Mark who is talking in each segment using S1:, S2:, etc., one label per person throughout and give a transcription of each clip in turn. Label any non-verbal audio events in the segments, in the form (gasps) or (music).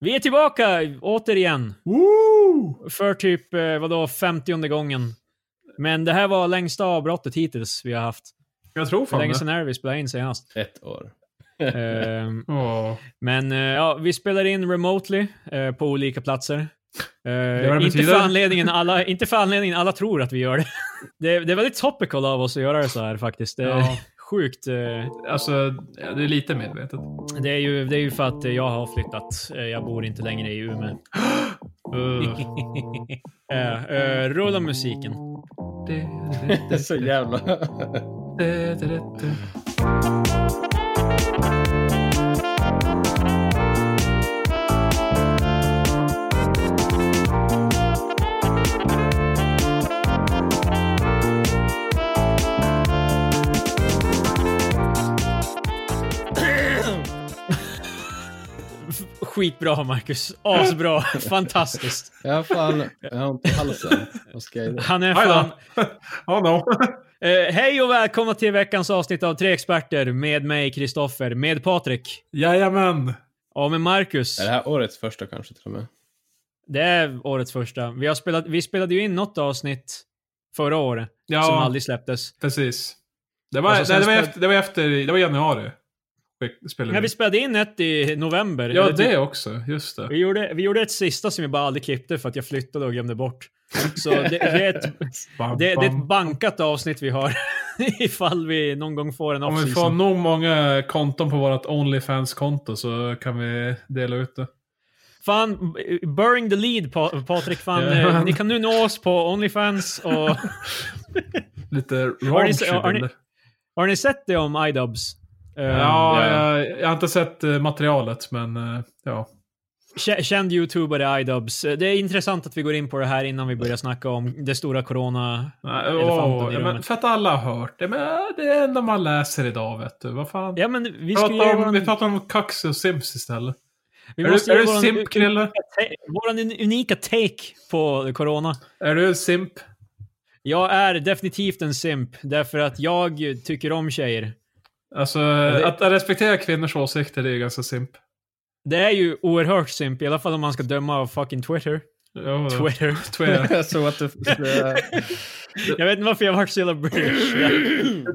S1: Vi är tillbaka återigen.
S2: Woo!
S1: För typ, eh, vadå, 50 gången. Men det här var längsta avbrottet hittills vi har haft.
S2: Jag tror
S1: Hur
S2: fan
S1: länge
S2: det.
S1: sedan är det vi spelade in
S2: (laughs)
S1: senast?
S3: Ett år.
S1: Ehm,
S2: Åh.
S1: men eh, ja, vi spelar in remotely eh, på olika platser. Eh,
S2: vad det
S1: inte, för
S2: betyder.
S1: anledningen alla, inte för anledningen alla tror att vi gör det. (laughs) det. är- Det är väldigt topical av oss att göra det så här faktiskt. Det är
S2: Ja.
S1: sjukt. eh,
S2: Alltså, ja, det är lite medvetet.
S1: Det är, ju, det är ju för att eh, jag har flyttat. Eh, Jag bor inte längre i
S2: (gasps)
S1: Umeå.
S2: Uh.
S1: Eh, eh, rulla musiken.
S3: Det är så jävla...
S1: Skitbra Marcus.
S2: (laughs)
S1: Asbra. Fantastiskt.
S3: Jag har fan... Jag har ont
S2: (laughs)
S3: i halsen. Vad ska jag göra?
S1: Han är
S2: Hej
S1: fan...
S2: då. Ja, no.
S1: Eh, hej och välkomna till veckans avsnitt av Tre Experter med mig Kristoffer, med Patrik
S2: Jajamän.
S1: och med Marcus.
S3: Är det här årets första kanske till och
S2: (laughs)
S3: med?
S1: Det är årets första. Vi, har spelat, vi spelade ju in något avsnitt förra året
S2: Ja,
S1: som aldrig Alltså, släpptes.
S2: precis. Det
S1: Och
S2: var,
S1: så sen
S2: nej, det, var
S1: spel-
S2: efter, det var efter, det var januari. Skick- Spelade
S1: Ja,
S2: vi.
S1: vi spelade in ett i november.
S2: Ja,
S1: Eller typ-
S2: det också. Just det.
S1: Vi gjorde, vi gjorde ett sista som jag bara aldrig klippte för att jag flyttade och glömde bort. Så det, det, är, ett,
S2: Bam,
S1: det, det är ett
S2: bam.
S1: bankat avsnitt vi har. (laughs) Ifall vi någon gång får en
S2: Om vi får
S1: off-season.
S2: nog många konton på vårt Onlyfans-konto så kan vi dela ut det.
S1: Fan, burning the lead pa- Patrik. Fan,
S2: Ja.
S1: eh, ni kan nu nå oss på Onlyfans och... (laughs)
S2: Lite
S1: Har ni-
S2: raunchy
S1: har ni-
S2: bilder.
S1: Har ni sett det om iDubbbz? Eh,
S2: Ja,
S3: Ja.
S2: jag, jag har inte sett eh, materialet, men eh, ja.
S1: kä- Känd youtubare iDubbbz. Eh, Det är intressant att vi går in på det här innan vi börjar snacka om det stora corona...
S2: Nej,
S1: Elefanten
S2: åh,
S1: i
S2: ja, men
S1: rummet.
S2: för att alla har hört det. Men eh, det är det enda man läser idag, vet du. Vad fan.
S1: Ja men vi
S2: vi,
S1: ska
S2: pratar
S1: ju...
S2: om, vi
S1: våran-
S2: pratar om Kaxi och Sims istället.
S1: Vi
S2: är
S1: måste
S2: du,
S1: ge
S2: är du
S1: våran-
S2: simp, Krille?
S1: te- Våran unika take på corona.
S2: Är du simp?
S1: Jag är definitivt en simp, därför att jag tycker om tjejer.
S2: Alltså,
S1: det-
S2: att att respektera kvinnors åsikter, det är ju ganska simp.
S1: Det är ju oerhört simp, i alla fall om man ska döma av fucking Twitter.
S2: Ja,
S1: Twitter. (laughs)
S2: Twitter.
S3: så att du...
S1: Jag vet inte varför jag vart så jävla
S2: (laughs)
S1: british.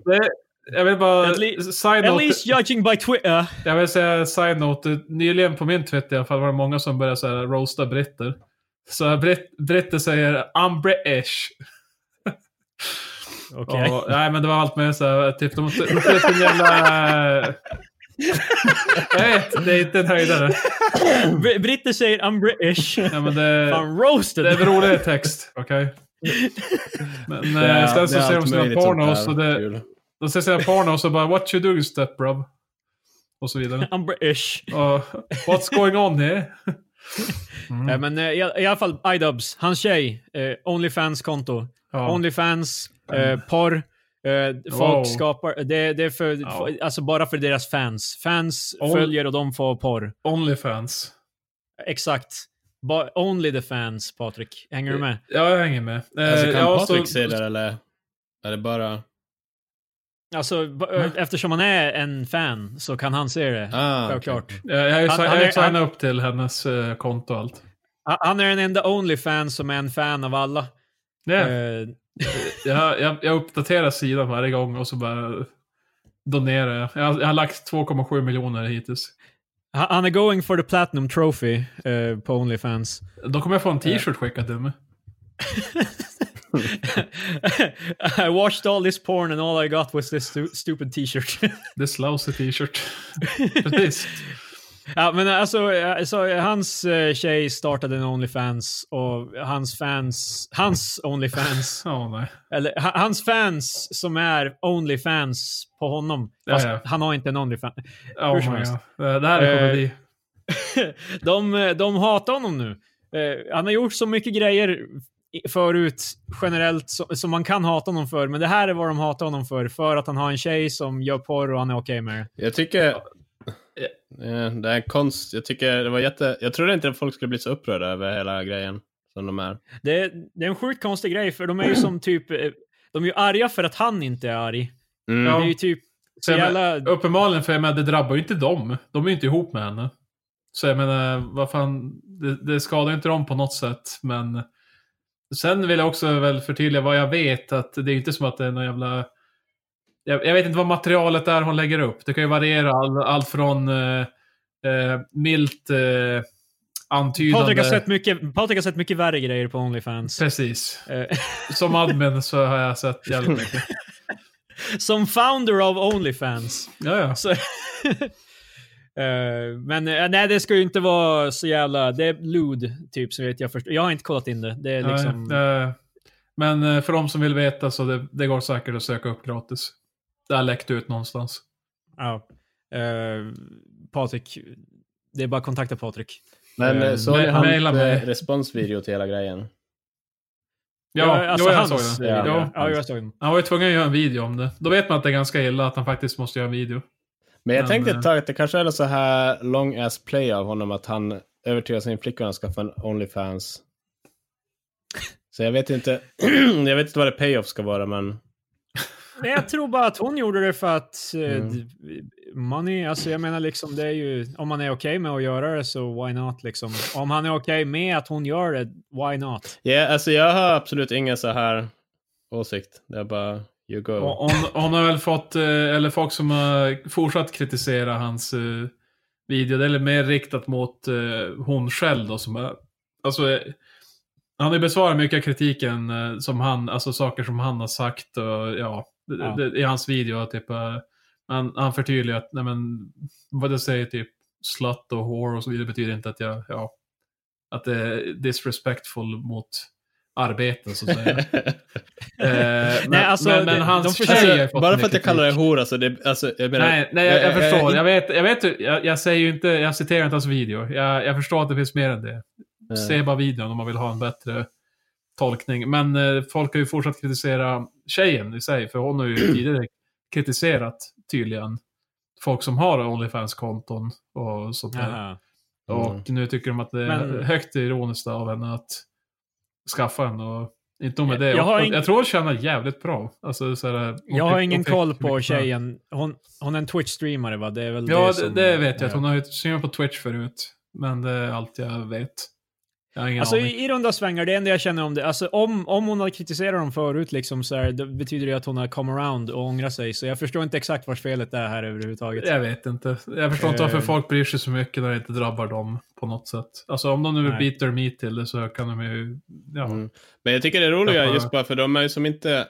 S2: Det- Jag vill bara...
S1: At le- At
S2: Side-note.
S1: least judging by Twitter.
S2: Jag vill säga side-note. Nyligen på min Twitter i alla fall var det många som började så här, roasta britter. Så britt, britter säger I'm British.
S1: Okej.
S2: Och, nej, men det var allt med så här, typ, de de ser ut som en jävla... Jag vet, det är inte en höjdare.
S1: (coughs) Br- Britter säger I'm
S2: (laughs)
S1: British.
S2: Ja, men det,
S1: Fan
S2: det är
S1: roasted.
S2: en rolig text, okej? Men
S3: Det
S2: eh,
S3: är-
S2: sen
S3: det
S2: så
S3: är
S2: ser de
S3: allt
S2: sina
S3: möjligt sånt
S2: pornos
S3: här.
S2: och det, Eh,
S3: Kul.
S2: de ser sina pornos och bara What you doing step bro? Och så vidare.
S1: (laughs) I'm British.
S2: Och, What's going on here? Mm,
S1: Nej, men eh, i, i alla fall iDubbbz, hans tjej, eh, Onlyfans-konto.
S2: Ja.
S1: Onlyfans, eh, porr. Eh, folk
S2: Wow.
S1: skapar, det, det är för,
S2: Ja.
S1: för, alltså bara för deras fans. Fans
S2: On-
S1: följer och de får porr.
S2: Onlyfans.
S1: Exakt. Ba, only the fans, Patrik. Hänger du med?
S2: Ja, jag hänger med. Eh,
S3: Alltså, kan
S2: ja,
S3: Patrik
S2: så-
S3: se det eller? Är det bara...
S1: Alltså, ba, eh, eftersom han är en fan så kan han se det.
S3: Ah,
S1: Självklart.
S3: okej.
S2: Ja, jag är,
S1: Han-
S2: jag
S1: han
S2: är,
S1: är-
S2: signat upp till hennes eh, konto och allt.
S1: Ha- Han är den enda Onlyfans som är en fan av alla.
S2: Yeah.
S1: Eh,
S2: Jag, jag, jag uppdaterar sidan varje gång och så bara donerar jag. Jag, har- jag har lagt 2,7 miljoner hittills.
S1: ha- han är going for the platinum trophy eh, på Onlyfans.
S2: Då kommer jag få en t-shirt skickad till mig.
S1: (laughs) I watched all this porn and all I got was this stu stupid t-shirt.
S2: This lousy t-shirt. Precis.
S1: (laughs) ja, men alltså, eh, så eh, hans eh, tjej startade en Onlyfans och hans fans, hans Onlyfans,
S2: Ja, nej.
S1: eller ha- hans fans som är Onlyfans på honom. Fast
S2: Ja, ja.
S1: han har inte en Onlyfans. Hur som
S2: Oh my
S1: helst.
S2: God. Eh, Det här är
S1: Eh,
S2: komedi.
S1: de, eh, de hatar honom nu. Eh, han har gjort så mycket grejer i- förut generellt som, som man kan hata honom för, men det här är vad de hatar honom för. För att han har en tjej som gör porr och han är okej med det.
S3: Jag tycker... Eh, Det är konst. Jag tycker det var jätte... Jag trodde inte att folk skulle bli så upprörda över hela grejen som de är.
S1: Det är, det är en sjukt konstig grej, för de är ju som typ... eh, De är ju arga för att han inte är arg.
S3: Mm.
S1: Det
S2: Ja.
S1: är ju typ så
S2: Sen-
S1: jävla...
S2: Uppenbarligen, för jag menar, det drabbar ju inte dem. De är ju inte ihop med henne. Så jag menar, vad fan, det, det skadar ju inte dem på något sätt. Men sen vill jag också väl förtydliga vad jag vet, att det är inte som att det är någon jävla... Jag, jag vet inte vad materialet är hon lägger upp. Det kan ju variera all, allt från eh, eh, milt eh, antydande...
S1: Patrik har, sett mycket, Patrik har sett mycket värre grejer på Onlyfans.
S2: Precis.
S1: Eh, (laughs)
S2: Som admin så har jag sett jävligt mycket.
S1: Som founder av Onlyfans.
S2: Ja, ja.
S1: Så, (laughs) Eh, men eh, nej, det ska ju inte vara så jävla... Det är lud, typ, så vet jag först. Jag har inte kollat in det. Det är liksom...
S2: Nej, eh, men eh, för de som vill veta så det, det går säkert att söka upp gratis. Det har läckt ut någonstans.
S1: Ja. Eh, Patrik. Det är bara att kontakta Patrik.
S3: Men
S1: Eh,
S3: eh, såg ni
S2: ma- maila
S3: hans
S2: mig.
S3: eh, responsvideo till hela grejen?
S2: Ja,
S1: alltså
S2: jo, jag såg
S1: hans,
S2: det.
S1: video.
S3: Ja.
S1: Ja, jag såg den.
S2: Han var ju tvungen att göra en video om det. Då vet man att det är ganska illa att han faktiskt måste göra en video.
S3: Men jag
S2: Men,
S3: tänkte
S2: eh,
S3: ett tag att det kanske är något så här long ass play av honom att han övertygar sin flickvän att skaffa en Onlyfans. Så jag vet inte, (clears throat) jag vet inte vad det payoff ska vara men
S1: Men jag tror bara att hon gjorde det för att eh,
S3: Mm.
S1: d- money, alltså jag menar liksom det är ju, om man är okej med att göra det så why not liksom. Om han är okej med att hon gör det, why not?
S3: Ja, alltså jag har absolut ingen så här åsikt. Det är bara you go.
S2: Och Hon, hon har väl fått, eh, eller folk som har fortsatt kritisera hans eh, video, det är mer riktat mot eh, hon själv då som är, alltså, eh, han har ju besvarat mycket av kritiken eh, som han, alltså saker som han har sagt och ja, det-
S1: Ja.
S2: Det, i hans video, typ, eh, han, han förtydligar att, nej men, vad det säger typ, slut och whore och så vidare betyder inte att jag, ja, att det är disrespectful mot arbeten så att säga. Eh, men,
S1: Nej, alltså,
S2: men, men
S1: det-
S2: hans
S1: de försöker-
S2: tjej har ju
S3: (laughs) alltså,
S2: fått
S3: bara
S2: en
S3: för att jag
S2: kritik.
S3: kallar det hora så det, alltså jag menar.
S2: Nej, nej jag, jag
S3: Eh, eh,
S2: förstår.
S3: eh,
S2: Jag vet, jag, vet, ju- jag, jag säger ju inte, jag citerar inte hans video. Jag, jag förstår att det finns mer än det.
S3: eh,
S2: Se bara videon om man vill ha en bättre tolkning. Men eh, folk har ju fortsatt kritisera tjejen i sig, för hon har (clears throat) ju tidigare kritiserat tydligen folk som har OnlyFans-konton och sånt där.
S1: Jaha.
S3: Mm.
S2: Och nu tycker de att det är
S1: Men-
S2: högt ironiskt av henne att skaffa en. Och inte om med det.
S1: Jag har
S2: Jag,
S1: ing-
S2: jag tror hon tjänar jävligt bra. Alltså, så här, hon
S1: Jag har
S2: fick-
S1: ingen
S2: hon fick
S1: koll på
S2: mycket pengar.
S1: tjejen. Hon, hon är en Twitch-streamare va? Det är väl
S2: Ja,
S1: det,
S2: det,
S1: som,
S2: det vet jag. Att hon har ju streamat på Twitch förut. Men det är allt jag vet. Jag har ingen
S1: Alltså
S2: aning.
S1: i, i runda svängar, det enda jag känner om det, alltså om, om hon har kritiserat dem förut liksom så här, det betyder det att hon har come around och ångrat sig. Så jag förstår inte exakt vart felet är här överhuvudtaget.
S2: Jag vet inte. Jag förstår inte varför
S1: Eh.
S2: folk bryr sig så mycket när det inte drabbar dem på något sätt. Alltså om de nu
S1: Nej.
S2: beater meat till det så kan de ju... Ja.
S3: Mm. Men jag tycker det är roliga
S2: Därför-
S3: just bara för de är ju som inte...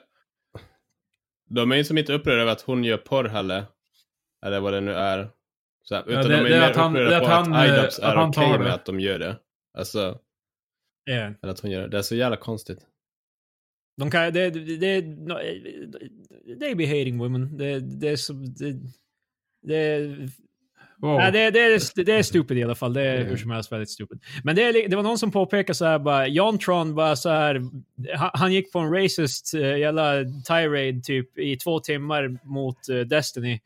S3: De är ju som inte upprörda över att hon gör porr heller. Eller vad det nu är. Så, här, utan
S2: det-
S3: de är,
S2: det är
S3: mer
S2: att han-
S3: upprörda
S2: det är
S3: på
S2: att
S3: att,
S2: han, eh,
S3: IDOPS
S2: att
S3: är
S2: han
S3: okej
S2: tar det.
S3: med att de gör det. Alltså,
S1: Eh,
S3: eller att hon gör det. Det är så jävla konstigt.
S1: De kan, det, det, det, no, eh, they be hating women. Det, det är så... Det, det,
S2: Wow.
S1: Nej, det, det, är, det är stupid i alla fall. Det är hur som helst väldigt stupid. Men det, är, li- det var någon som påpekade så här bara, Jan Tron bara så här, han, han gick på en racist eh, jävla tirade typ i två timmar mot eh, Destiny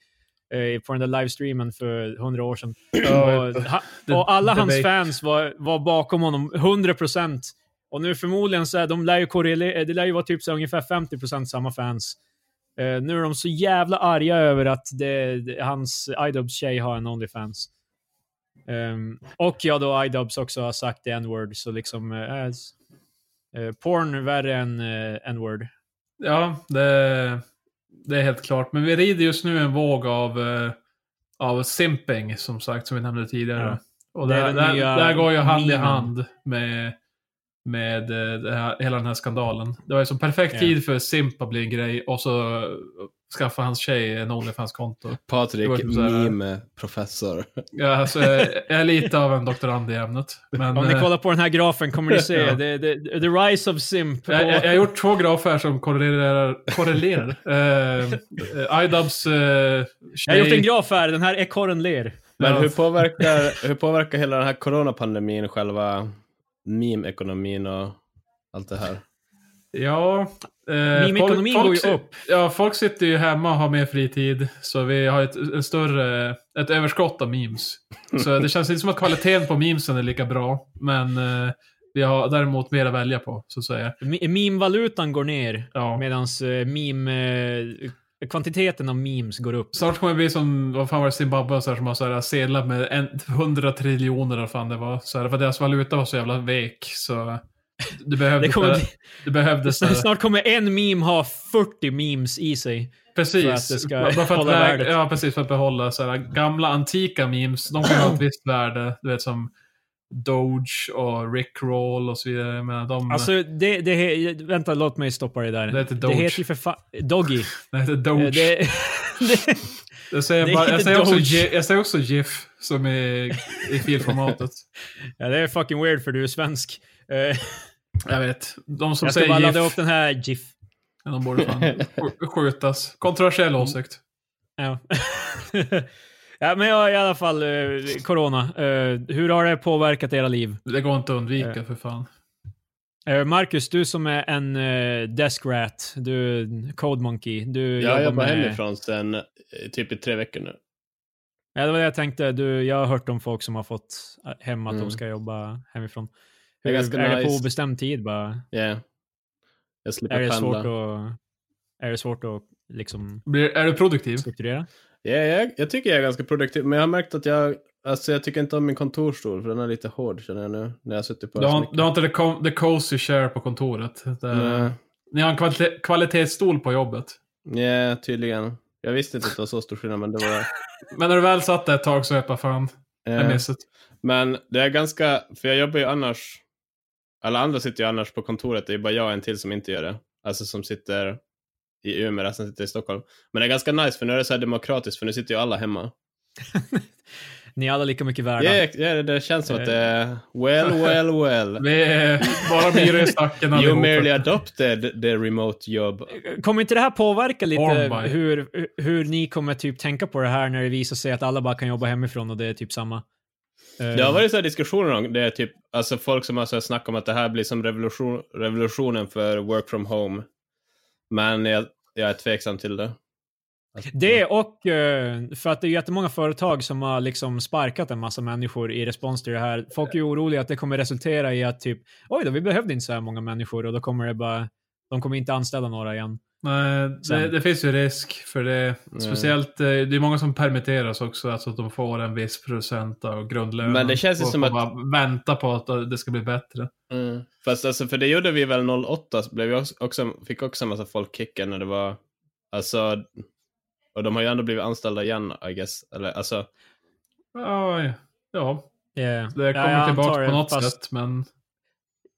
S1: eh, på den där livestreamen för hundra år sedan.
S2: Ja,
S1: och, ha,
S2: det-
S1: och alla hans
S2: debate.
S1: fans var, var bakom honom 100 procent. Och nu förmodligen så här, de lär ju korrelera, det lär ju vara typ så här, ungefär 50 procent samma fans. Eh, nu är de så jävla arga över att det, det, hans iDubbbz tjej har en Onlyfans. Ehm, och ja då iDubbbz också har sagt det n-word, så liksom... eh, s- eh, porn värre än eh, n-word.
S2: Ja, det, det är helt klart. Men vi rider just nu en våg av, eh, av simping, som sagt, som vi nämnde tidigare. Och
S1: Det är
S2: där,
S1: den
S2: där,
S1: nya
S2: där går ju hand i
S1: memen.
S2: hand med, med eh, det här, hela den här skandalen. Det var ju som perfekt
S1: Ja.
S2: tid för simp att bli en grej och så eh, skaffa hans tjej en Onlyfans-konto. Det var
S3: Patrik,
S2: typ så här-
S3: meme-professor.
S2: Ja, alltså, jag jag är lite av en doktorand i ämnet. Men,
S1: Om ni
S2: eh,
S1: kollar på den här grafen kommer
S2: (laughs)
S1: ni se
S2: Ja.
S1: det, det, the rise of simp.
S2: Jag, jag, jag har gjort två grafer som korrelerar. korrelerar. uh, iDubs uh,
S1: Jag har gjort en graf här, den här ekorren ler.
S3: Men
S2: Ja.
S3: hur, påverkar, hur påverkar hela den här coronapandemin själva meme-ekonomin och allt det här?
S2: Ja. Eh,
S1: Meme-ekonomin
S2: folk-
S1: går ju
S2: folk si-
S1: upp.
S2: Ja, folk sitter ju hemma och har mer fritid, så vi har ett, en större, ett överskott av memes. Så det känns inte som att kvaliteten på memesen är lika bra, men eh, vi har däremot mer att välja på, så att säga.
S1: Mi- Meme-valutan går ner
S2: Ja,
S1: medan meme... eh, kvantiteten av memes går
S2: (laughs)
S1: upp.
S2: Snart kommer det bli som, vad fan var det, Zimbabwe och så här, som har så här sedlar med en, 100 triljoner eller vad fan det var. Så här, för deras valuta var så jävla vek så du behövde,
S1: Det kommer
S2: så här-
S1: bli-
S2: du behövde så här,
S1: Snart kommer en meme ha 40 memes i sig.
S2: precis,
S1: för att det ska
S2: bara för att
S1: hålla
S2: vä-
S1: värdet.
S2: Ja, precis, för att behålla så här, gamla antika memes. De kan
S1: (clears throat)
S2: ha ett visst värde, du vet som Doge och Rickroll och så vidare. Jag menar, de,
S1: Alltså, det, det, he- vänta, låt mig stoppa dig där.
S2: Det heter Doge.
S1: heter ju för fan...
S2: (laughs)
S1: Doggy.
S2: det heter
S1: Eh,
S2: Doge.
S1: Det, (laughs) det,
S2: jag, säger
S1: det
S2: bara, jag,
S1: heter
S2: säger också,
S1: Doge.
S2: Gi- jag säger också GIF som är i filformatet.
S1: ja, det är fucking weird för du är svensk. Eh,
S2: Jag vet. De som
S1: jag ska bara
S2: säger
S1: ladda
S2: GIF,
S1: upp den här GIF.
S2: ja, de borde
S1: (laughs)
S2: fan sk- skjutas. Kontroversiell
S1: Mm.
S2: åsikt.
S1: Ja. (laughs) ja, men jag, i alla fall, eh, corona. Eh, hur har det påverkat era liv?
S2: Det går inte att undvika för fan.
S1: Eh, Marcus, du som är en eh, desk rat, du är en code monkey. Du
S3: Jag har jobbat
S1: med-
S3: hemifrån sen eh, typ i tre veckor nu.
S1: Ja, det var det jag tänkte. Du, jag har hört om folk som har fått eh, hem att de
S3: Mm.
S1: ska jobba hemifrån.
S3: Det
S1: Hur,
S3: är
S1: är,
S3: ganska
S1: det på
S3: nice.
S1: obestämd tid bara?
S3: Yeah. Jag slipper
S1: Är det svårt
S3: pendla.
S1: att, är det svårt att liksom
S2: Blir, är du produktiv?
S1: strukturera?
S3: Ja, jag, jag tycker jag är ganska produktiv, men jag har märkt att jag... Alltså jag tycker inte om min kontorsstol, för den är lite hård känner jag nu. När jag har suttit på
S2: Du
S3: den så
S2: har,
S3: mycket.
S2: du har inte the, co- the cozy share på kontoret? Där,
S3: Nej.
S2: Ni har en kvalite, kvalitetsstol på jobbet.
S3: eh, Ja,
S2: eh,
S3: tydligen. Jag visste inte att det var så stor skillnad, men
S2: (laughs)
S3: det var...
S2: Men när du väl satt där ett tag så vet jag fan, jag
S3: Eh,
S2: missat.
S3: Men det är ganska, för jag jobbar ju annars, alla andra sitter ju annars på kontoret, det är bara jag och en till som inte gör det. Alltså som sitter i Umeå, resten sitter i Stockholm. Men det är ganska nice för nu är det så här demokratiskt för nu sitter ju alla hemma.
S1: Ni är alla lika mycket värda.
S3: Ja, ja, det- det känns som att det är well, well, well.
S2: Eh. (laughs) Vi är bara myror i
S3: (laughs)
S2: stacken
S3: You
S2: allihopa.
S3: merely adopted the remote job.
S1: Kommer inte det här påverka lite
S2: Ormby.
S1: hur, hur ni kommer typ tänka på det här när det visar sig att alla bara kan jobba hemifrån och det är typ samma? Eh,
S3: Det har varit så här diskussioner om det, är typ, alltså folk som har så här snackat om att det här blir som revolution, revolutionen för work from home. Men jag, jag är tveksam till det. Alltså,
S1: Det och eh, för att det är jättemånga företag som har liksom sparkat en massa människor i respons till det här. Folk är ju oroliga att det kommer resultera i att typ oj då, vi behövde inte så här många människor och då kommer det bara, de kommer inte anställa några igen.
S2: Nej, det,
S1: Sen.
S2: det finns ju risk för det. Speciellt, eh, det är många som permitteras också, alltså att de får en viss procent av grundlönen.
S3: Men det känns ju
S2: Och
S3: som
S2: får
S3: att-
S2: bara vänta på att det ska bli bättre.
S3: Mm. Fast alltså, för det gjorde vi väl 08, så blev vi också, också, fick också en massa folk kicken när det var, alltså, och de har ju ändå blivit anställda igen, I guess. Eller, alltså,
S2: Oj, ja,
S1: Eh,
S2: det
S1: ja,
S2: kommer
S1: jag antar
S2: tillbaka
S1: det,
S2: på något
S1: fast
S2: sätt,
S3: Eh,
S2: men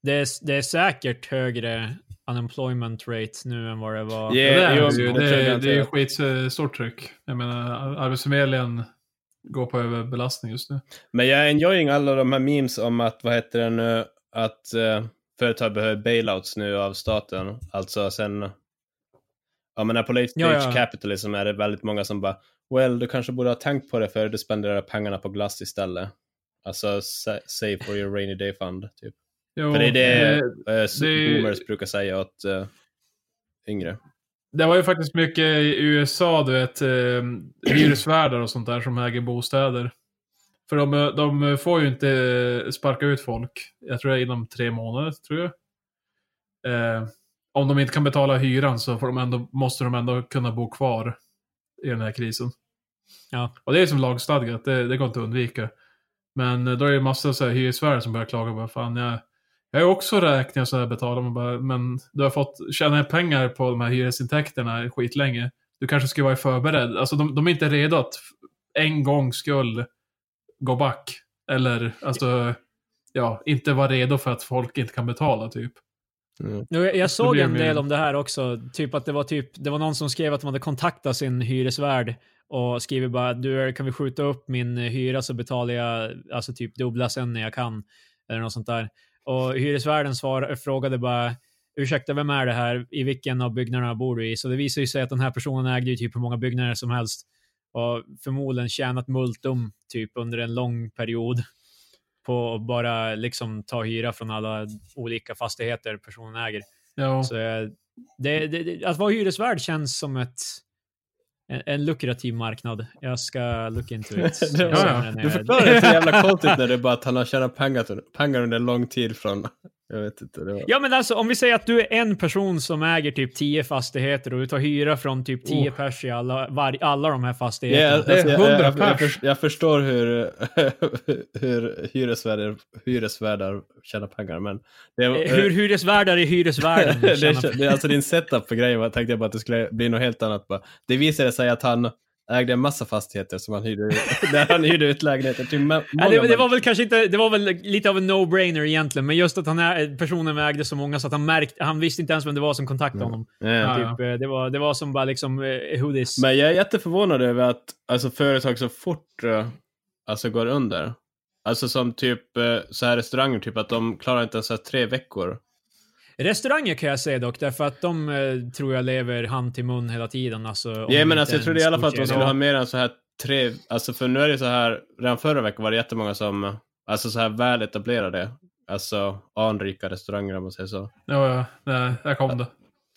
S1: Det är, det är säkert högre unemployment rate nu än vad det var.
S3: Yeah.
S2: det, är
S3: jo,
S2: det ju.
S3: det tror jag
S2: Det, det är ju
S3: garanterat.
S2: skitstort tryck. Jag menar, Arbetsförmedlingen går på överbelastning just nu.
S3: men jag är enjoying alla de här memes om att, vad heter det nu, att eh, företag behöver bailouts nu av staten. Alltså sen, ja men när på late stage
S1: Ja, ja.
S3: capitalism är det väldigt många som bara, well, du kanske borde ha tänkt på det för du spenderar pengarna på glass istället. Alltså, sa- save for your rainy day fund, typ.
S2: Jo,
S3: För det är det, eh,
S2: det-
S3: boomers brukar säga åt eh, yngre.
S2: Det var ju faktiskt mycket i USA, du vet, eh, hyresvärdar och sånt där som äger bostäder. För de, eh, de får ju inte sparka ut folk, jag tror det är inom tre månader, tror jag. Eh, om de inte kan betala hyran så får de ändå, måste de ändå kunna bo kvar i den här krisen.
S1: Ja.
S2: Och det är som lagstadgat, det, det går inte att undvika. Men eh, då är det ju massa så här hyresvärdar som börjar klaga. Bara, Fan, jag, jag har ju också räkningar så här betala, men, bara, men du har fått tjäna pengar på de här hyresintäkterna skitlänge. Du kanske skulle vara förberedd. Alltså de, de är inte redo att f- en gång skull gå back. Eller alltså, ja, inte vara redo för att folk inte kan betala typ.
S1: Jo, Jag, jag såg en
S2: Problem är-
S1: del om det här också. Typ att det var, typ, det var någon som skrev att de hade kontaktat sin hyresvärd och skriver bara du kan vi skjuta upp min hyra så betalar jag alltså typ dubbla sen när jag kan. Eller något sånt där. Och hyresvärden svar, frågade bara ursäkta vem är det här? I vilken av byggnaderna bor du i? Så det visar ju sig att den här personen ägde ju typ hur många byggnader som helst och förmodligen tjänat multum typ under en lång period (laughs) på att bara liksom ta hyra från alla olika fastigheter personen äger.
S2: Ja.
S1: Så eh, det, det, det, att vara hyresvärd känns som ett, en, en lukrativ marknad. Jag ska look into it.
S3: Det var-
S1: Jag ser när
S3: Du
S1: jag-
S3: förklarar det så jävla konstigt när det är bara att han har tjänat pengar, pengar under en lång tid från Jag vet inte. Det var...
S1: (laughs) Ja men alltså om vi säger att du är en person som äger typ 10 fastigheter och du tar hyra från typ 10
S2: Oh.
S1: pers i alla, var, alla de här
S3: Ja,
S1: fastigheterna.
S3: alltså, jag, jag,
S2: 100
S3: jag, jag,
S2: pers.
S3: för- jag förstår hur, (laughs) hur hyresvärdar, hyresvärdar tjänar pengar, men... Det, (laughs)
S1: Eh, Hur hyresvärdar är hyresvärden?
S3: det,
S1: tjänar
S3: det, det, alltså din setup på grejen var- tänkte jag bara att det skulle bli något helt annat. Bara. Det visade sig att han ägde en massa fastigheter som han hyrde, ut- (laughs) där han hyrde ut lägenheter till ma-
S1: Ja,
S3: många
S1: det, det var
S3: människor.
S1: väl kanske inte, det var väl lite av en no-brainer egentligen, men just att han är, personen ägde så många så att han märkte, han visste inte ens vem det var som kontaktade honom.
S3: Ja.
S2: Ja.
S1: Typ, eh, det, var, det var som bara liksom eh, hoodies.
S3: Men jag är jätteförvånad över att alltså, företag så fort eh, alltså, går under. Alltså som typ eh, så här restauranger, typ att de klarar inte ens så här tre veckor.
S1: Restauranger kan jag säga dock, därför att de eh, tror jag lever hand till mun hela tiden. Alltså, om
S3: Ja, men
S1: inte
S3: alltså, jag
S1: en
S3: trodde i alla fall att
S1: stor
S3: de skulle
S1: kedja.
S3: ha mer än så här tre, alltså för nu är det så här, redan förra veckan var det jättemånga som, alltså så här väletablerade, alltså anrika restauranger om man säger så.
S2: Ja, ja, nej, där kom det.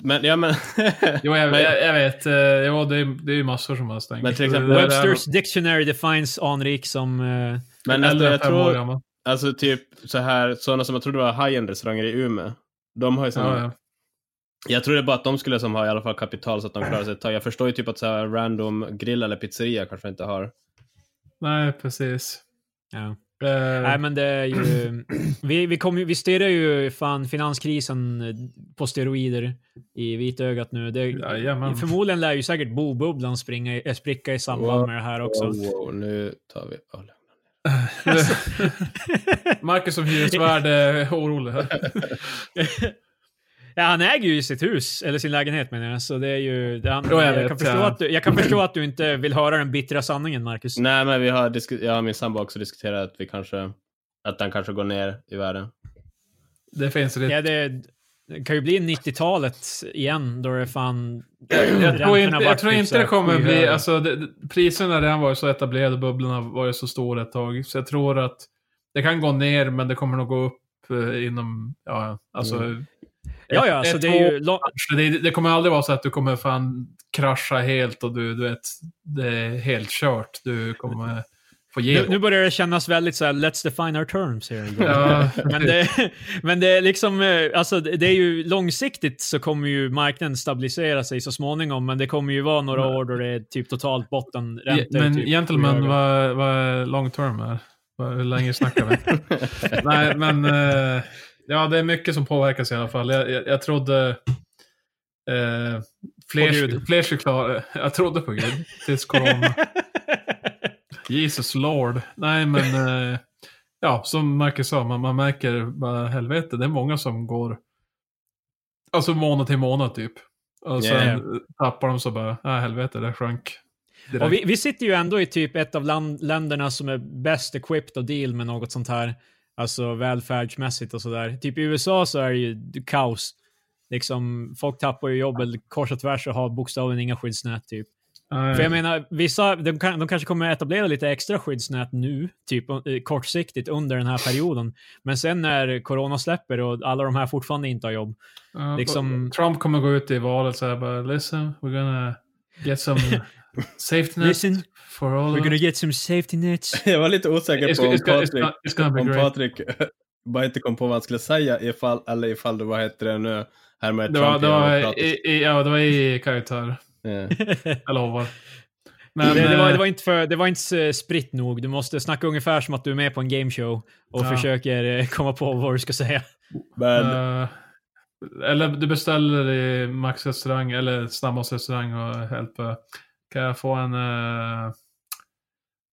S3: Men ja men, (laughs)
S2: Jo, jag,
S3: Men-
S2: jag, jag vet. eh, Jo, det är, det är ju massor som har stängt.
S3: Men till exempel
S2: Det där
S1: Webster's Dictionary defines anrik som... eh,
S3: men
S2: var
S3: alltså,
S2: äldre än
S3: jag
S2: fem år
S3: tror,
S2: gammal.
S3: alltså typ så här, sådana som jag trodde var high-end restauranger i Umeå. De har ju sån,
S2: Ja, ja.
S3: Jag trodde bara att de skulle som ha i alla fall kapital så att de klarar sig ett tag. Jag förstår ju typ att så här random grill eller pizzeria kanske inte har.
S2: Nej, precis.
S1: ja.
S2: Eh,
S1: Nej men det är ju... (clears throat) Vi, vi, kom, ju- vi stirrar ju fan finanskrisen eh, på steroider i vitögat nu. Det,
S2: Jajamän.
S1: förmodligen lär ju säkert bobubblan springa, i- eh, spricka i samband med det här också.
S3: Wow, Oh, wow, nu tar vi öl.
S1: Alltså.
S2: (laughs) Marcus som hyresvärd är eh, orolig här.
S1: Ja, han äger ju sitt hus, eller sin lägenhet menar jag. Så det är ju... Det, han,
S2: Jo, jag
S1: jag,
S2: vet,
S1: kan förstå
S2: ja. Mm.
S1: att du, jag kan förstå att du inte vill höra den bittra sanningen, Marcus.
S3: Nej men vi har, disku- jag och min sambo har också diskuterat att vi kanske, att den kanske går ner i världen.
S2: Det finns lite.
S1: Ja, det, det kan ju bli 90-talet igen då det fan...
S2: Jag tror inte, jag
S1: vart
S2: tror
S1: typ
S2: inte
S1: så här
S2: det kommer bli,
S1: skyhöga.
S2: alltså det, det- priserna har redan varit så etablerade, bubblorna har varit så stora ett tag. Så jag tror att det kan gå ner, men det kommer nog gå upp eh, inom, ja, alltså.
S1: Mm. ja, ja,
S2: ett-
S1: alltså
S2: ett,
S1: det är ju...
S2: två
S1: lång-
S2: år. det, det kommer aldrig vara så att du kommer fan krascha helt och du, du vet, det är helt kört. Du kommer få ge
S1: Nu, nu börjar det kännas väldigt så här, let's define our terms here.
S2: Ja,
S1: Men, det, men det är liksom, eh, alltså det det är ju långsiktigt så kommer ju marknaden stabilisera sig så småningom, men det kommer ju vara några år då det är typ totalt bottenräntor.
S2: Mm. men
S1: typ,
S2: gentlemen,
S1: skyhöga.
S2: vad, vad är long term är? Vad- Hur länge snackar vi? (laughs) Nej, men eh, ja, det är mycket som påverkas i alla fall. Jag, jag, jag trodde eh,
S1: På
S2: fler,
S1: Gud.
S2: fler skulle klara Jag trodde på Gud tills corona.
S1: (laughs)
S2: Jesus Lord. Nej, men eh, ja, som Marcus sa, man, man märker bara helvete. Det är många som går alltså månad till månad typ. Och sen
S3: Yeah.
S2: tappar de så bara, nej helvete, det sjönk. direkt.
S1: Och vi, vi sitter ju ändå i typ ett av land, länderna som är bäst equipped att deal med något sånt här, alltså välfärdsmässigt och sådär. Typ i USA så är det ju kaos. Liksom, folk tappar ju jobbet kors och tvärs och har bokstavligen inga skyddsnät typ.
S2: Nej.
S1: För jag menar, vissa, de, kan, de kanske kommer etablera lite extra skyddsnät nu, typ eh, kortsiktigt under den här perioden. Men sen när corona släpper och alla de här fortfarande inte har jobb.
S2: Ja,
S1: liksom-
S2: Trump kommer gå ut i valet så här bara listen, we're gonna
S1: (laughs)
S2: get some safety net
S1: Listen,
S2: for all
S1: we're
S2: of
S1: gonna
S2: us.
S1: get some safety nets.
S3: (laughs) Jag var lite osäker
S2: It's,
S3: på om
S2: it's, gonna, it's,
S3: Patrik,
S2: gonna, it's gonna be
S3: om
S2: great.
S3: Patrik (laughs) bara inte kom på vad han skulle säga ifall, eller ifall det, vad heter det nu, härmade
S2: Det var,
S3: Trump
S2: det
S3: genom
S2: var,
S3: att prata.
S2: i, i, ja, det var i karaktär,
S3: Ja.
S2: jag lovar.
S1: det,
S2: Men,
S1: det, var, det,
S2: eh,
S1: var inte för, det var inte så spritt nog. Du måste snacka ungefär som att du är med på en gameshow och
S2: Ja.
S1: försöker eh, komma på vad du ska säga.
S3: (laughs) Men
S2: eh, eller du beställer i Max restaurang eller Snabbas restaurang och hjälper. Kan jag få en uh,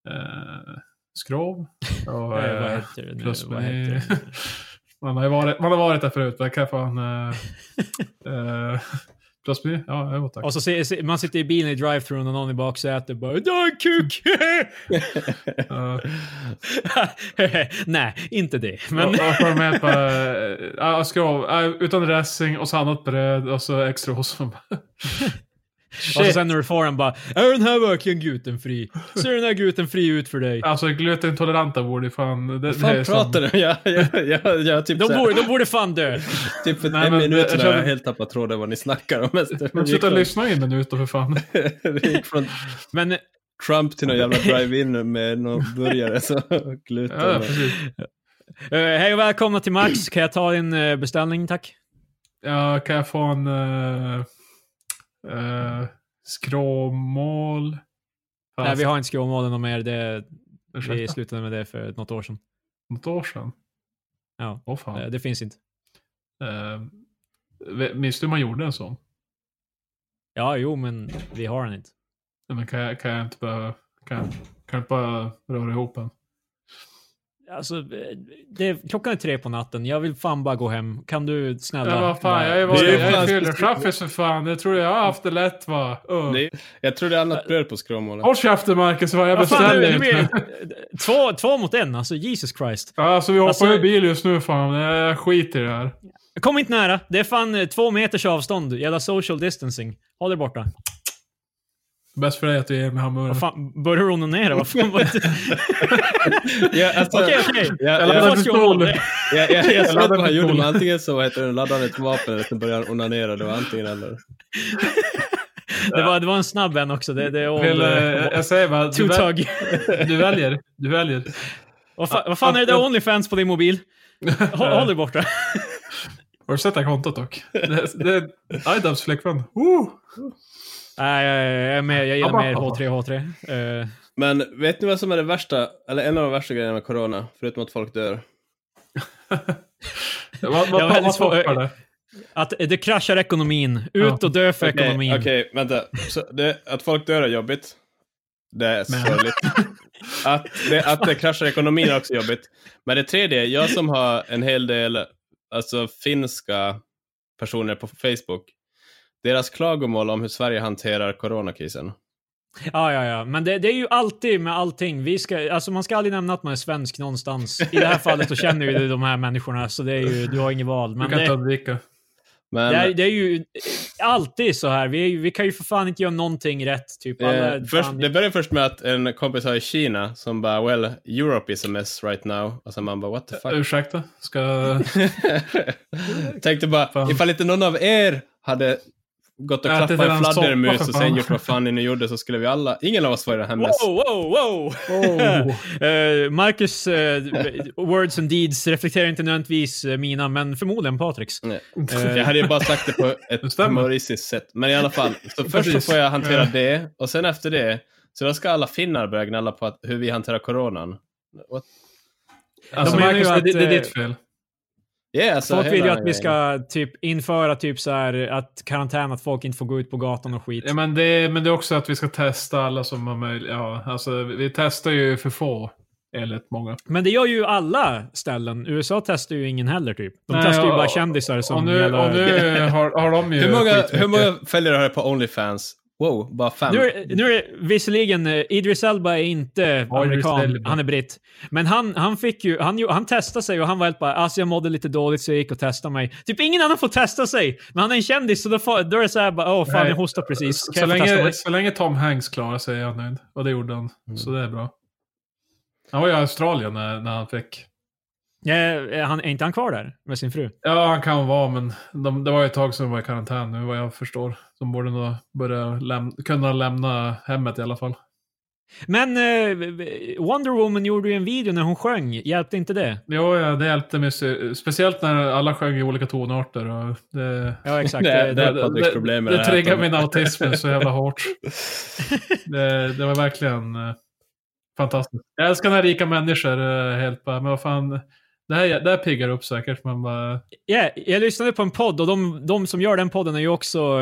S2: uh, skrov?
S1: (laughs)
S2: Och,
S1: Eh, vad
S2: eh,
S1: heter det nu?
S2: Plus
S1: Vad heter det? nu?
S2: (laughs) man, har ju varit, man har varit där förut, men kan jag få en... Uh, plusmeny? Ja, jo tack.
S1: Och så se, se, man sitter i bilen i drive-thrun och någon i baksätet bara “Du har en kuk!” (laughs)
S2: Eh,
S1: Nej, inte det.
S2: och-
S1: Men...
S2: och får de med på, eh, ja, skrov, eh, utan dressing och så annat bröd och så extra ost.
S1: (laughs) Och så
S2: Shit.
S1: sen när du får den bara “Är den här verkligen glutenfri? Ser den här glutenfri ut för dig?”
S2: (laughs) Alltså glutenintoleranta borde ju fan... Det, det är
S3: fan
S2: som-
S3: pratar du? (laughs) Jag, jag, jag, jag typ,
S1: De
S3: så här-
S1: borde, de borde fan dö.
S3: typ för
S2: Nej,
S3: en
S2: men det-
S3: minut
S2: jag
S3: sedan
S2: tror
S3: har jag
S2: det-
S3: helt tappat tråden vad ni snackar om. (laughs) Men det
S2: Men
S3: gick
S2: sluta
S3: från-
S2: lyssna i en minut då
S1: (laughs)
S2: för fan.
S3: (laughs) det gick från
S1: Men eh,
S3: Trump till någon jävla drive-in med någon burgare (laughs) så gluten.
S2: Ja,
S3: och-
S2: precis.
S1: Eh, hej och välkomna till Max. Kan jag ta din eh, beställning, tack?
S2: Ja, kan jag få en uh, uh, skråmål?
S1: Nej, vi har inte skråmålen någon mer. Det, vi
S2: Ursäkta,
S1: slutade med det för något år sedan.
S2: något år sedan.
S1: Ja.
S2: Åh fan.
S1: Eh, det finns inte.
S2: Eh, Ehm, minns du hur man gjorde en sån?
S1: Ja, jo, men vi har den inte.
S2: Nej, men kan, jag, kan jag inte bara, kan, jag- kan jag inte bara röra ihop en?
S1: Alltså, eh, det, klockan är tre på natten. Jag vill fan bara gå hem. Kan du snälla...
S2: Ja, vad fan,
S1: bara-
S2: jag är,
S3: Det är ju
S2: jag är
S3: fan
S2: fyllechaffis för fan. Jag tror jag har haft det lätt va? Uh.
S3: Det är, jag tror det är annat bröd på skråmålet.
S2: Håll käften Marcus, vad jag
S1: Vad fan, nu,
S2: beställer
S1: nu
S2: inte.
S1: är det, två, två mot en, alltså Jesus Christ.
S2: (laughs) Ja, alltså vi hoppar
S1: Alltså-
S2: ur bil just nu fan. Jag skiter i det här.
S1: Kom inte nära. Det är fan eh, två meters avstånd. Jävla social distancing. Håll dig borta.
S2: Bäst för dig att du ger mig hamburgaren.
S1: Vad fan, börjar du onanera? Vad fan var
S2: (laughs)
S1: det?
S3: Ja, alltså,
S1: Okej, okej.
S3: Jag,
S2: Jag
S3: jag,
S2: laddar
S3: jag,
S1: får
S2: pistol.
S1: skråmål.
S3: jag, jag, jag såg
S2: laddar
S3: vad han gjorde,
S2: pistol.
S3: men antingen så vad heter det, laddade han ett vapen eller så började han onanera. Det var antingen eller.
S1: Det var, det var en snabb en också. Det, det är all,
S2: Vill, eh, jag, jag säger bara, du,
S1: two
S2: väl,
S1: tug.
S2: du väljer. Du väljer.
S1: Vad, fa, vad fan är det där Onlyfans på din mobil? Håll,
S3: (laughs)
S1: håll dig borta.
S2: Har du sett det här kontot dock? Det, det är Idubs flickvän. Woo!
S1: Nej, jag, jag, är med. jag gillar mer H3 H3. Eh,
S3: Men vet ni vad som är det värsta, eller en av de värsta grejerna med corona, förutom att folk dör?
S2: Vad, vad,
S1: Jag har
S2: vad,
S1: väldigt
S2: vad
S1: svår-
S2: toppar det?
S1: att det kraschar ekonomin. Ut
S2: Ja.
S1: och dö för
S3: Okej,
S1: ekonomin.
S3: okej, vänta. Så det, att folk dör är jobbigt. Det är
S2: Men-
S3: sorgligt. Att det, att det kraschar ekonomin är också jobbigt. Men det tredje, jag som har en hel del alltså, finska personer på Facebook, deras klagomål om hur Sverige hanterar coronakrisen.
S1: Ja, ja, ja. Men det, det är ju alltid med allting. Vi ska, alltså man ska aldrig nämna att man är svensk någonstans. I det här fallet så känner ju du de här människorna, så det är ju, du har inget val.
S2: Du
S1: Men
S2: kan
S1: det,
S2: inte undvika.
S3: Men
S1: det, är, det är ju alltid så här. Vi, är, ju- vi kan ju för fan inte göra någonting rätt. Typ. Alla,
S3: eh, först,
S1: fan,
S3: det började först med att en kompis här i Kina som bara “Well, Europe is a mess right now” och sen man bara “What the fuck?”
S2: Ursäkta? Ska...
S1: (laughs)
S3: (laughs) Tänkte bara,
S2: Fan.
S3: ifall inte någon av er hade gått och
S2: Ätit
S3: klappat en
S2: en soppa
S3: fladdermus
S2: för
S3: och
S2: fan.
S3: sen gjort vad fan ni nu gjorde så skulle vi alla, ingen av oss var i den här mess.
S1: Wow, wow, wow! (laughs)
S2: Oh.
S1: Eh, Marcus eh, words and deeds reflekterar inte nödvändigtvis eh, mina, men förmodligen Patriks.
S3: Nej. Eh, Jag hade ju bara sagt det på
S2: Det
S3: ett
S2: stämmer.
S3: humoristiskt sätt. Men i alla fall, så först så
S2: Precis.
S3: får jag hantera
S2: Ja.
S3: det och sen efter det, så då ska alla finnar börja gnälla på att, hur vi hanterar coronan. What?
S2: Alltså
S1: De menar
S2: Marcus,
S1: ju
S2: det,
S1: att,
S2: det, det är
S1: eh,
S2: ditt fel.
S3: Yeah, alltså,
S1: Folk
S3: hela
S1: vill ju
S3: den
S1: att vi
S3: grejen.
S1: ska typ införa typ så här att karantän, att folk inte får gå ut på gatan och skit.
S2: Ja, men, det, men det är också att vi ska testa alla som har möjlighet. Ja, alltså, vi vi testar ju för få, enligt många.
S1: Men det gör ju alla ställen. USA testar ju ingen heller typ. De
S2: Nej,
S1: testar ju
S2: och-
S1: bara kändisar som
S2: och nu,
S1: jävla-
S2: och nu har, har de ju
S3: Hur många,
S2: skitmycket.
S3: hur många följare har du på Onlyfans? Wow, bara fem.
S1: Nu, är- nu är visserligen, eh, Idris Elba är inte
S2: Ja, Idris
S1: amerikan,
S2: Elba.
S1: han är britt. Men han, han fick ju, han, ju- han testade sig och han var helt bara, alltså jag mådde lite dåligt så jag gick och testade mig. Typ ingen annan får testa sig, men han är en kändis så då, får, då är det såhär bara, åh fan
S2: Nej.
S1: jag hostar precis, kan
S2: Så
S1: jag få testa Mm.
S2: länge,
S1: mig?
S2: så länge Tom Hanks klarar sig är jag nöjd. Och det gjorde han. Så det är bra. Han var ju i Australien när, när han fick.
S1: Eh, eh, han, är inte han kvar där med sin fru?
S2: Ja, han kan vara, men de, det var ju ett tag sedan de var i karantän nu vad jag förstår. De borde nog börja läm- kunna lämna hemmet i alla fall.
S1: Men eh, Wonder Woman gjorde ju en video när hon sjöng, hjälpte inte det?
S2: Jo, ja, det hjälpte mig. se- Speciellt när alla sjöng i olika tonarter. Och det,
S1: Ja exakt. det,
S3: Nej, det-
S1: det,
S3: är Patricks problem med
S2: det,
S3: det
S2: det
S3: här,
S2: triggar
S3: att de-
S2: min autism så jävla
S3: (laughs)
S2: hårt. Det, det var verkligen eh, fantastiskt. Jag älskar när rika människor eh, helt bara, men vad fan. Det här, det här piggar upp säkert, men bara,
S1: Ja, jag lyssnade på en podd och de, de som gör den podden är ju också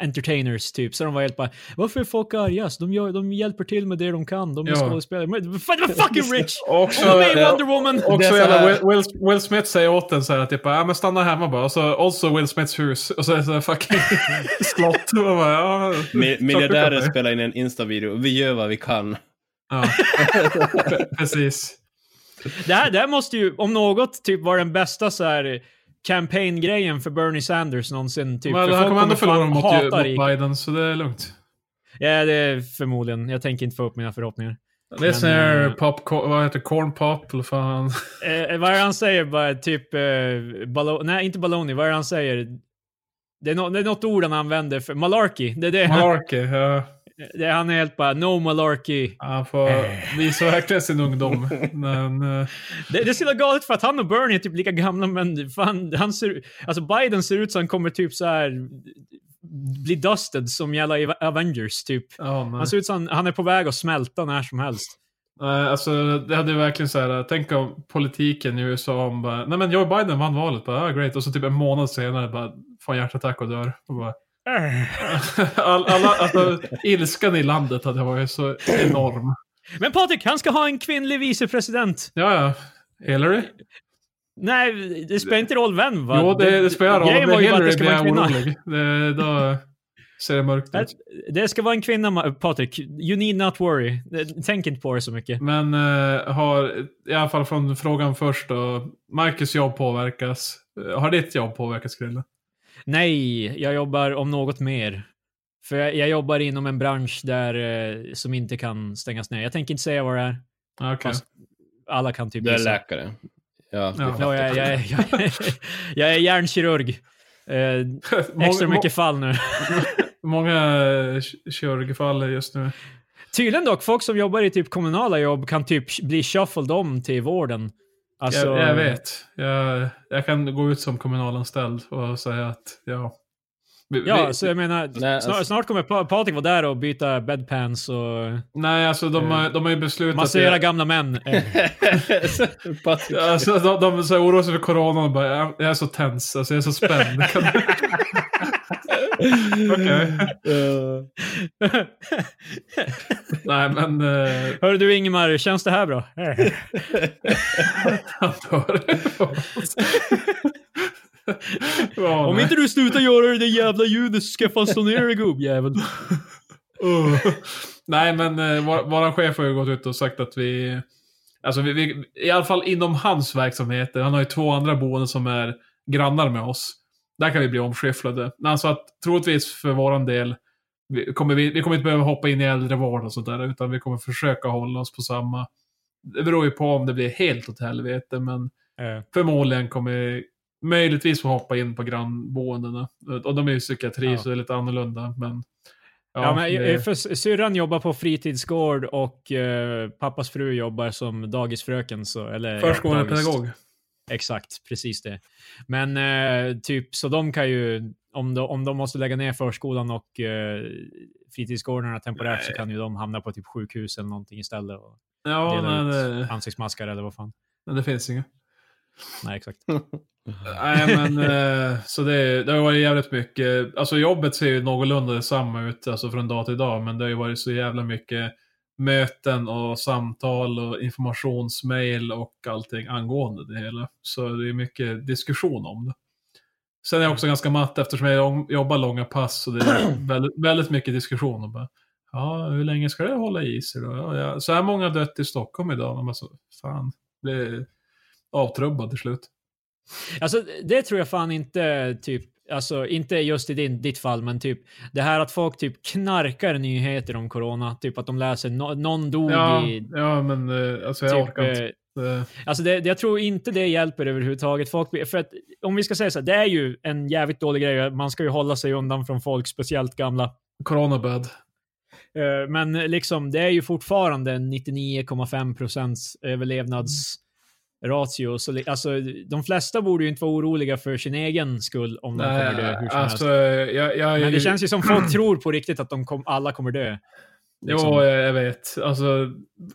S1: entertainers typ. Så de var helt bara, varför är folk argast? De, gör, de hjälper till med det de kan. De är
S2: Ja.
S1: skådespelare. Men, de är
S2: (laughs)
S1: fucking rich!
S2: Också,
S1: Hon är med i
S3: ja.
S1: Wonder Woman!
S3: eh, Det är
S2: också
S3: så
S2: jävla
S3: här-
S2: Will, Will, Will Smith säger åt en så här typ, ja men stanna hemma bara. Och så också Will Smiths hus. Och så är det så här fucking (laughs) slott. Och bara, ja,
S3: Mi-
S2: klart du
S3: Miljardärer
S2: kommer.
S3: spelar in en Insta-video. Vi gör vad vi kan. (laughs)
S2: Ja. Pre- Precis.
S1: Det här, det här måste ju, om något, typ vara den bästa så här campaign-grejen för Bernie Sanders någonsin. Typ.
S2: men
S1: för
S2: han kommer ändå förlora
S1: fan
S2: mot,
S1: hata
S2: mot
S1: rika.
S2: Biden, så det är lugnt.
S1: Ja, det är förmodligen. Jag tänker inte få upp mina förhoppningar.
S2: Listen
S1: Men,
S2: here,
S1: eh,
S2: popcorn, vad heter det? corn pop,
S1: (laughs)
S2: eller fan.
S1: Eh, vad är det han säger? Bara typ... Eh, ballo- nej, inte baloney. Vad är det han säger? Det är, nå- det är något ord han använder. För, malarkey. Det är det.
S2: Malarkey. ja.
S1: Det, han är helt bara no malarkey.
S2: Han
S1: Eh.
S2: får visa verkligen sin ungdom. Men, eh,
S1: Det, det är så jävla galet för att han och Bernie är typ lika gamla men fan, han ser, alltså Biden ser ut som han kommer typ så här bli dusted som jävla Ava- Avengers typ.
S2: ja, nej.
S1: Han ser ut som han, han är på väg att smälta när som
S2: (laughs)
S1: helst.
S2: Nej, alltså det hade ju verkligen så här. tänk om politiken i USA om bara, nej men Joe Biden vann valet, bara, ah, great. Och så typ en månad senare bara, får en hjärtattack och dör. Och bara, (laughs) all, alla, alltså, ilskan i landet hade varit så enorm.
S1: Men Patrik, han ska ha en kvinnlig vicepresident.
S2: Ja, ja. Hillary?
S1: Nej, det spelar inte roll vem va?
S2: Jo, det, det spelar roll.
S1: grejen
S2: Om det
S1: var
S2: är
S1: ju bara att
S2: Hillary
S1: ska
S2: blir
S1: vara en
S2: jag
S1: kvinna.
S2: orolig. Det, då ser det mörkt
S1: Nej,
S2: ut.
S1: Det ska vara en kvinna, Ma- Patrik. You need not worry. Tänk inte på det så mycket.
S2: Men eh, har, i alla fall från frågan först då, Marcus jobb påverkas. Eh, Har ditt jobb påverkats, Grille?
S1: Nej, jag jobbar om något mer. För jag, jag jobbar inom en bransch där eh, som inte kan stängas ner. Jag tänker inte säga vad det är.
S2: Ah, Okej.
S1: Fast Alla kan typ
S3: Du är
S1: gissa.
S3: läkare. Ja,
S2: Ja.
S3: vi (laughs)
S1: Ja,
S3: fattar.
S1: jag, jag, jag, jag, (laughs) jag är hjärnkirurg. Eh, extra
S2: (laughs) Många-
S1: mycket fall nu.
S2: Många eh, k- kirurgfall just nu.
S1: Tydligen dock, folk som jobbar i typ kommunala jobb kan typ bli shuffled om till vården. Alltså,
S2: jag, jag vet. Jag, jag kan gå ut som kommunalanställd och säga att ja. Vi,
S1: Ja,
S2: vi,
S1: så jag menar,
S3: Nej,
S1: snart,
S3: alltså-
S1: snart kommer pa- Patrik vara där och byta bedpans och
S2: nej, alltså de, har- de har ju beslutat. att-
S1: massera gamla (laughs) män. Eh,
S3: Patrik.
S2: Alltså, de, de så här oroar sig för corona och bara, jag jag är så tens, alltså, jag är
S1: (laughs)
S2: så spänd. Kan du- Okej.
S3: (laughs) Eh,
S2: Nej, men eh,
S1: Hör du Ingemar, känns det här bra? Eh.
S2: han dör. ja,
S1: Om
S2: nej.
S1: inte du slutar göra det där jävla ljudet så ska jag fan slå ner dig gubbjävel.
S2: Uh. Nej, men eh, vår, våran chef har ju gått ut och sagt att vi... Alltså, vi, vi, i alla fall inom hans verksamheter. Han har ju två andra boenden som är grannar med oss. Där kan vi bli omskyfflade. Men han sa att troligtvis för våran del, vi kommer, vi, vi kommer inte behöva hoppa in i äldrevård och sådär, utan vi kommer försöka hålla oss på samma. Det beror ju på om det blir helt åt helvete, men
S1: Eh,
S2: förmodligen kommer vi möjligtvis få hoppa in på grannboendena. Och de är ju psykiatri,
S1: Ja.
S2: så det är lite annorlunda, men...
S1: Ja, men,
S2: det-
S1: eh, för s- syrran jobbar på fritidsgård och eh, pappas fru jobbar som dagisfröken. Så, eller, ja, dagis-
S2: Förskolepedagog.
S1: Exakt, precis det. Men eh, typ, så de kan ju, om de, om de måste lägga ner förskolan och eh, fritidsgårdarna temporärt så kan ju de hamna på typ sjukhus eller någonting istället och
S2: Ja,
S1: dela
S2: nej,
S1: ut
S2: det,
S1: ansiktsmaskar eller vad fan.
S2: nej, det finns inget.
S1: Nej, exakt.
S2: Nej, men eh, så det, det har varit jävligt mycket. Alltså jobbet ser ju någorlunda detsamma ut alltså, från dag till dag, men det har ju varit så jävla mycket möten och samtal och informationsmail och allting angående det hela. Så det är mycket diskussion om det. Sen är jag också ganska matt eftersom jag lång- jobbar långa pass så det är väldigt, väldigt mycket diskussion. Och bara, ja, hur länge ska det hålla i sig då? Ja, ja. Så här många har dött i Stockholm idag. Man bara, så, fan, blir avtrubbad till slut.
S1: Alltså det tror jag fan inte typ, alltså inte just i din, ditt fall, men typ det här att folk typ knarkar nyheter om corona, typ att de läser no, någon dog
S2: Ja,
S1: i
S2: ja men eh, alltså jag
S1: typ,
S2: orkar inte.
S1: eh,
S2: Eh,
S1: Alltså det, jag tror inte det hjälper överhuvudtaget. Folk, blir- för att, om vi ska säga så här, det är ju en jävligt dålig grej. Man ska ju hålla sig undan från folk, speciellt gamla.
S2: Coronabad.
S1: Eh, Men liksom, det är ju fortfarande en 99,5 procents överlevnadsratio. Så, li- alltså, de flesta borde ju inte vara oroliga för sin egen skull om de
S2: Nej,
S1: kommer dö hur som
S2: alltså
S1: helst.
S2: jag, jag är
S1: Men
S2: ju-
S1: det känns ju som folk (clears throat) tror på riktigt att de kom, alla kommer dö. liksom.
S2: Jo, jag jag vet. Alltså,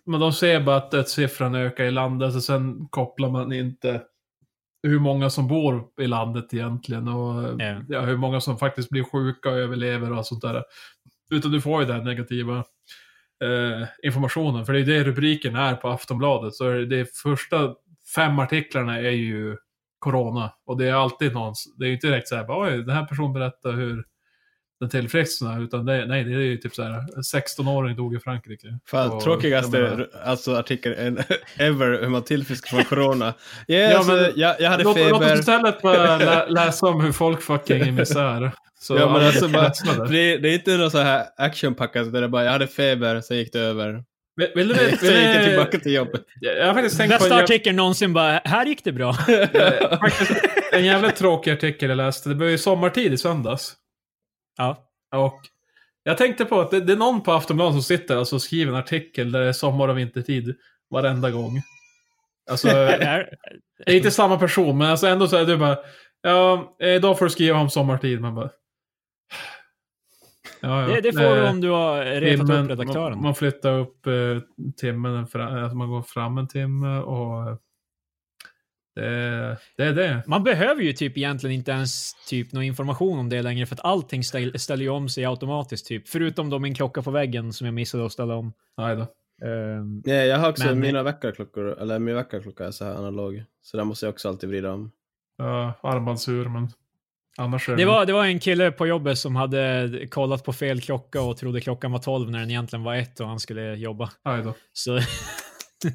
S2: men de ser bara att dödssiffran ökar i landet och sen kopplar man inte hur många som bor i landet egentligen och eh,
S1: Ja.
S2: ja, hur många som faktiskt blir sjuka och överlever och sånt där. Utan du får ju den här negativa eh, informationen, för det är det rubriken är på Aftonbladet. Så det är första fem artiklarna är ju corona och det är alltid någon, det är ju inte direkt så här, bara, oj, den här personen berättar hur den tillfrisknar, utan det, nej, det är ju typ så här, en 16-åring dog i Frankrike.
S3: Fan,
S2: Och- jag menar-
S3: tråkigaste alltså, artikeln (laughs) ever hur man tillfrisknar från corona. (laughs) Ja,
S2: Ja,
S3: alltså,
S2: men-
S3: jag, jag hade
S2: Låt, låt oss
S3: feber.
S2: istället bara lä, läsa om hur folk fucking är i misär. Så
S3: Ja, men
S2: alla
S3: alltså,
S2: blir
S3: bara-
S2: ledsna där.
S3: Det, är- det är inte någon så här actionpackat där det bara jag hade feber, sen gick det över. (laughs)
S2: Vill- Vill du
S3: Sen
S2: veta?
S3: gick jag tillbaka till jobbet.
S2: Jag har faktiskt tänkt på en,
S1: Bästa
S2: jävla, eh,
S1: artikeln någonsin bara, här gick det bra. (laughs)
S2: (laughs) en jävligt tråkig artikel jag läste. Det var ju sommartid i söndags.
S1: ja.
S2: Och Jag tänkte på att det, det är någon på Aftonbladet som sitter alltså, och skriver en artikel där det är sommar och vintertid varenda gång.
S1: (laughs)
S2: Alltså,
S1: Det
S2: det
S1: är-
S2: är inte samma person, men alltså ändå så är det bara, ja, eh, idag får du skriva om sommartid. Man bara, ja, ja.
S1: Det, det får du
S2: Eh,
S1: om du har retat
S2: Filmen,
S1: upp redaktören.
S2: Man, man flyttar upp eh, timmen, en fra, alltså man går fram en timme och eh, det, det är det.
S1: Man behöver ju typ egentligen inte ens typ någon information om det längre för att allting ställ, ställer ju om sig automatiskt typ. Förutom då min klocka på väggen som jag missade att ställa om.
S2: Nej då.
S1: Ehm,
S3: Nej, jag har också
S1: Men-
S3: mina väckarklockor, eller min väckarklocka är så här analog. Så där måste jag också alltid vrida om.
S2: Ja, armbandsur, men annars är
S1: det, var, det var en kille på jobbet som hade kollat på fel klocka och trodde klockan var 12 när den egentligen var ett och han skulle jobba.
S2: Aj då.
S1: Så, (laughs)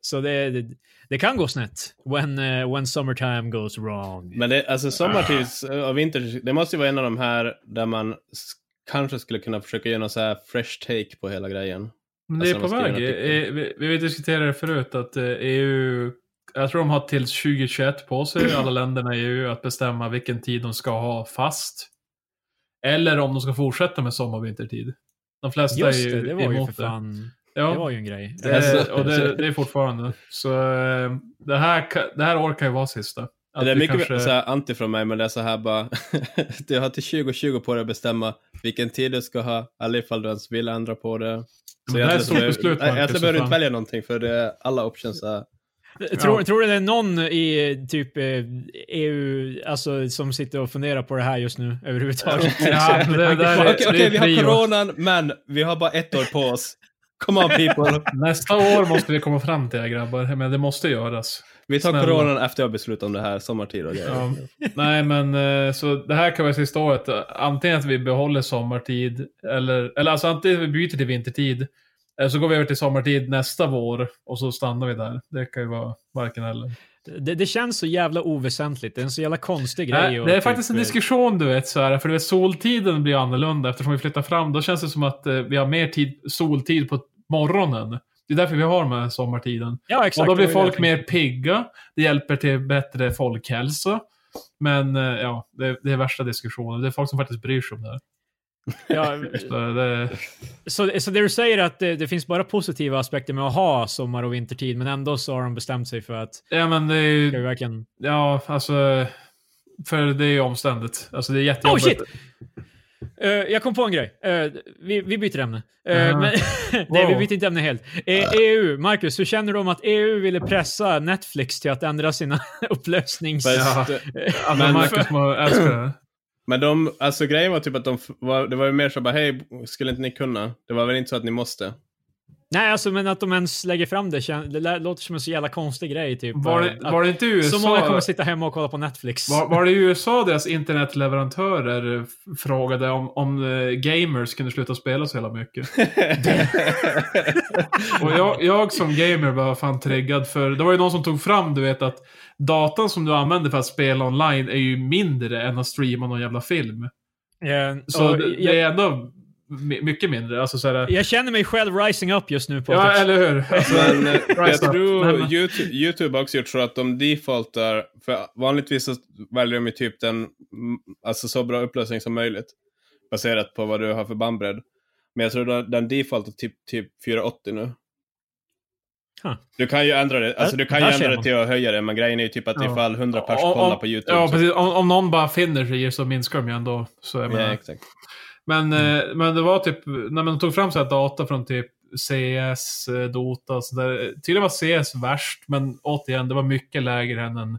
S1: så det, det, det kan gå snett. When, eh, when summertime goes wrong.
S3: Men det, alltså sommartids och vinter, det måste ju vara en av de här där man s- kanske skulle kunna försöka göra någon så här fresh take på hela grejen.
S2: Men det är på
S3: Alltså, de
S2: väg.
S3: skriver en artikel.
S2: Eh, Vi, vi diskuterade det förut att eh, EU, jag tror de har till 2021 på sig, alla länderna i EU, att bestämma vilken tid de ska ha fast. Eller om de ska fortsätta med sommar och vintertid. De flesta
S1: Just
S2: är
S1: det,
S2: ju
S1: det var ju
S2: emot
S1: för fan.
S2: Ja.
S1: Det var ju en grej.
S2: Det,
S3: Alltså-
S2: och det, det är fortfarande. Så eh, det här, ka- det här år kan ju vara sista. Att
S3: det är
S2: vi
S3: mycket
S2: kanske-
S3: så här anti från mig, men det är så här bara, (laughs) du har till 2020 på dig att bestämma vilken tid du ska ha, eller ifall du ens vill ändra på det.
S2: Men det här är ett
S3: egentligen
S2: stort
S3: behöver-
S2: beslut,
S3: nej,
S2: Marcus,
S3: Egentligen
S2: för
S3: behöver du
S2: fan.
S3: inte välja någonting, för det är alla options är...
S1: Tror,
S2: Ja.
S1: tror du det är någon i typ eh, EU, alltså som sitter och funderar på det här just nu överhuvudtaget?
S2: Ja,
S1: (laughs)
S2: det, det där är,
S3: Okej,
S2: det
S3: okej,
S2: är
S3: vi har
S2: prio.
S3: coronan, men vi har bara ett år på oss. Come
S2: (laughs)
S3: on people.
S2: Nästa år måste vi komma fram till det grabbar. Men det måste göras.
S3: Vi tar
S2: Snälla.
S3: coronan efter jag beslutar om det här, sommartid och grejer.
S2: Ja. (laughs) Nej men eh, så det här kan vara sista året. Antingen att vi behåller sommartid. Eller, eller alltså antingen vi byter till vintertid. Eller så går vi över till sommartid nästa vår. Och så stannar vi där. Det kan ju vara varken eller.
S1: Det, det känns så jävla oväsentligt. Det är en så jävla konstig grej.
S2: Nej,
S1: och
S2: det är
S1: typ,
S2: faktiskt en
S1: eh,
S2: diskussion du vet, så här, för du vet, soltiden blir annorlunda eftersom vi flyttar fram. Då känns det som att eh, vi har mer tid, soltid på morgonen. Det är därför vi har med sommartiden.
S1: Ja, exakt.
S2: och då blir
S1: det var ju
S2: folk
S1: det jag
S2: mer pigga. Det hjälper till bättre folkhälsa. Men eh, ja, det, det är värsta diskussionen. Det är folk som faktiskt bryr sig om det här.
S1: tänkte. Ja,
S2: Så det,
S1: så, så det du säger att det, det finns bara positiva aspekter med att ha sommar och vintertid, men ändå så har de bestämt sig för att
S2: ja, men det är
S1: ska vi
S2: ju,
S1: verkligen...
S2: ja, alltså, för det är ju omständigt. Alltså det är
S1: Oh
S2: jättejobbigt.
S1: shit! Eh, jag kom på en grej. Eh, vi, vi byter ämne. Eh,
S2: Ja.
S1: men, (laughs) nej, vi
S2: Wow.
S1: byter inte ämne helt. Eh, EU, Marcus, hur känner du om att EU ville pressa Netflix till att ändra sina (laughs) upplösnings...
S3: Fast,
S2: Ja.
S1: Eh,
S2: Alltså,
S3: Men-
S2: Marcus må älska det.
S3: Men de, alltså grejen var typ att de f- var, det var ju mer så bara hej, skulle inte ni kunna? Det var väl inte så att ni måste?
S1: Nej, alltså men att de ens lägger fram det, kän- det lä- låter som en så jävla konstig grej. Typ.
S2: Var
S1: Eh,
S2: det,
S1: att
S2: var det inte USA?
S1: så många kommer sitta hemma och kolla på Netflix.
S2: Var, var det i USA deras internetleverantörer eh, f- frågade om, om eh, gamers kunde sluta spela så jävla mycket? Och jag, jag som gamer var fan triggad för det var ju någon som tog fram, du vet att datan som du använder för att spela online är ju mindre än att streama någon jävla film.
S1: Eh,
S2: Så
S1: och
S2: det, det
S1: jag,
S2: är ändå my- mycket mindre. Alltså så här,
S1: jag känner mig själv rising up just nu. På typ
S2: ja, eller (laughs) hur? Alltså,
S3: Men eh, jag
S2: Rise up. Nej, men-
S3: tror YouTube, YouTube har också gjort så att de defaultar, för vanligtvis så väljer de ju typ den, mm, alltså så bra upplösning som möjligt, baserat på vad du har för bandbredd. Men jag tror den, den defaultar typ, typ 480 nu.
S1: Huh.
S3: Du kan ju ändra det, alltså
S1: Där-
S3: du kan ju
S1: där ser
S3: ändra det
S1: man.
S3: till att höja det, men grejen är ju typ att
S2: Ja.
S3: ifall 100 pers
S2: Om- om-
S3: kollar på YouTube.
S2: Ja,
S3: så-
S2: precis. Om, om någon bara finner sig i det så minskar de ju ändå. Så jag menar,
S3: Ja, exakt.
S2: Men,
S1: Mm.
S2: eh, men det var typ, när man tog fram så här data från typ CS, eh, Dota och så där. Tydligen var CS värst, men återigen, det var mycket lägre än en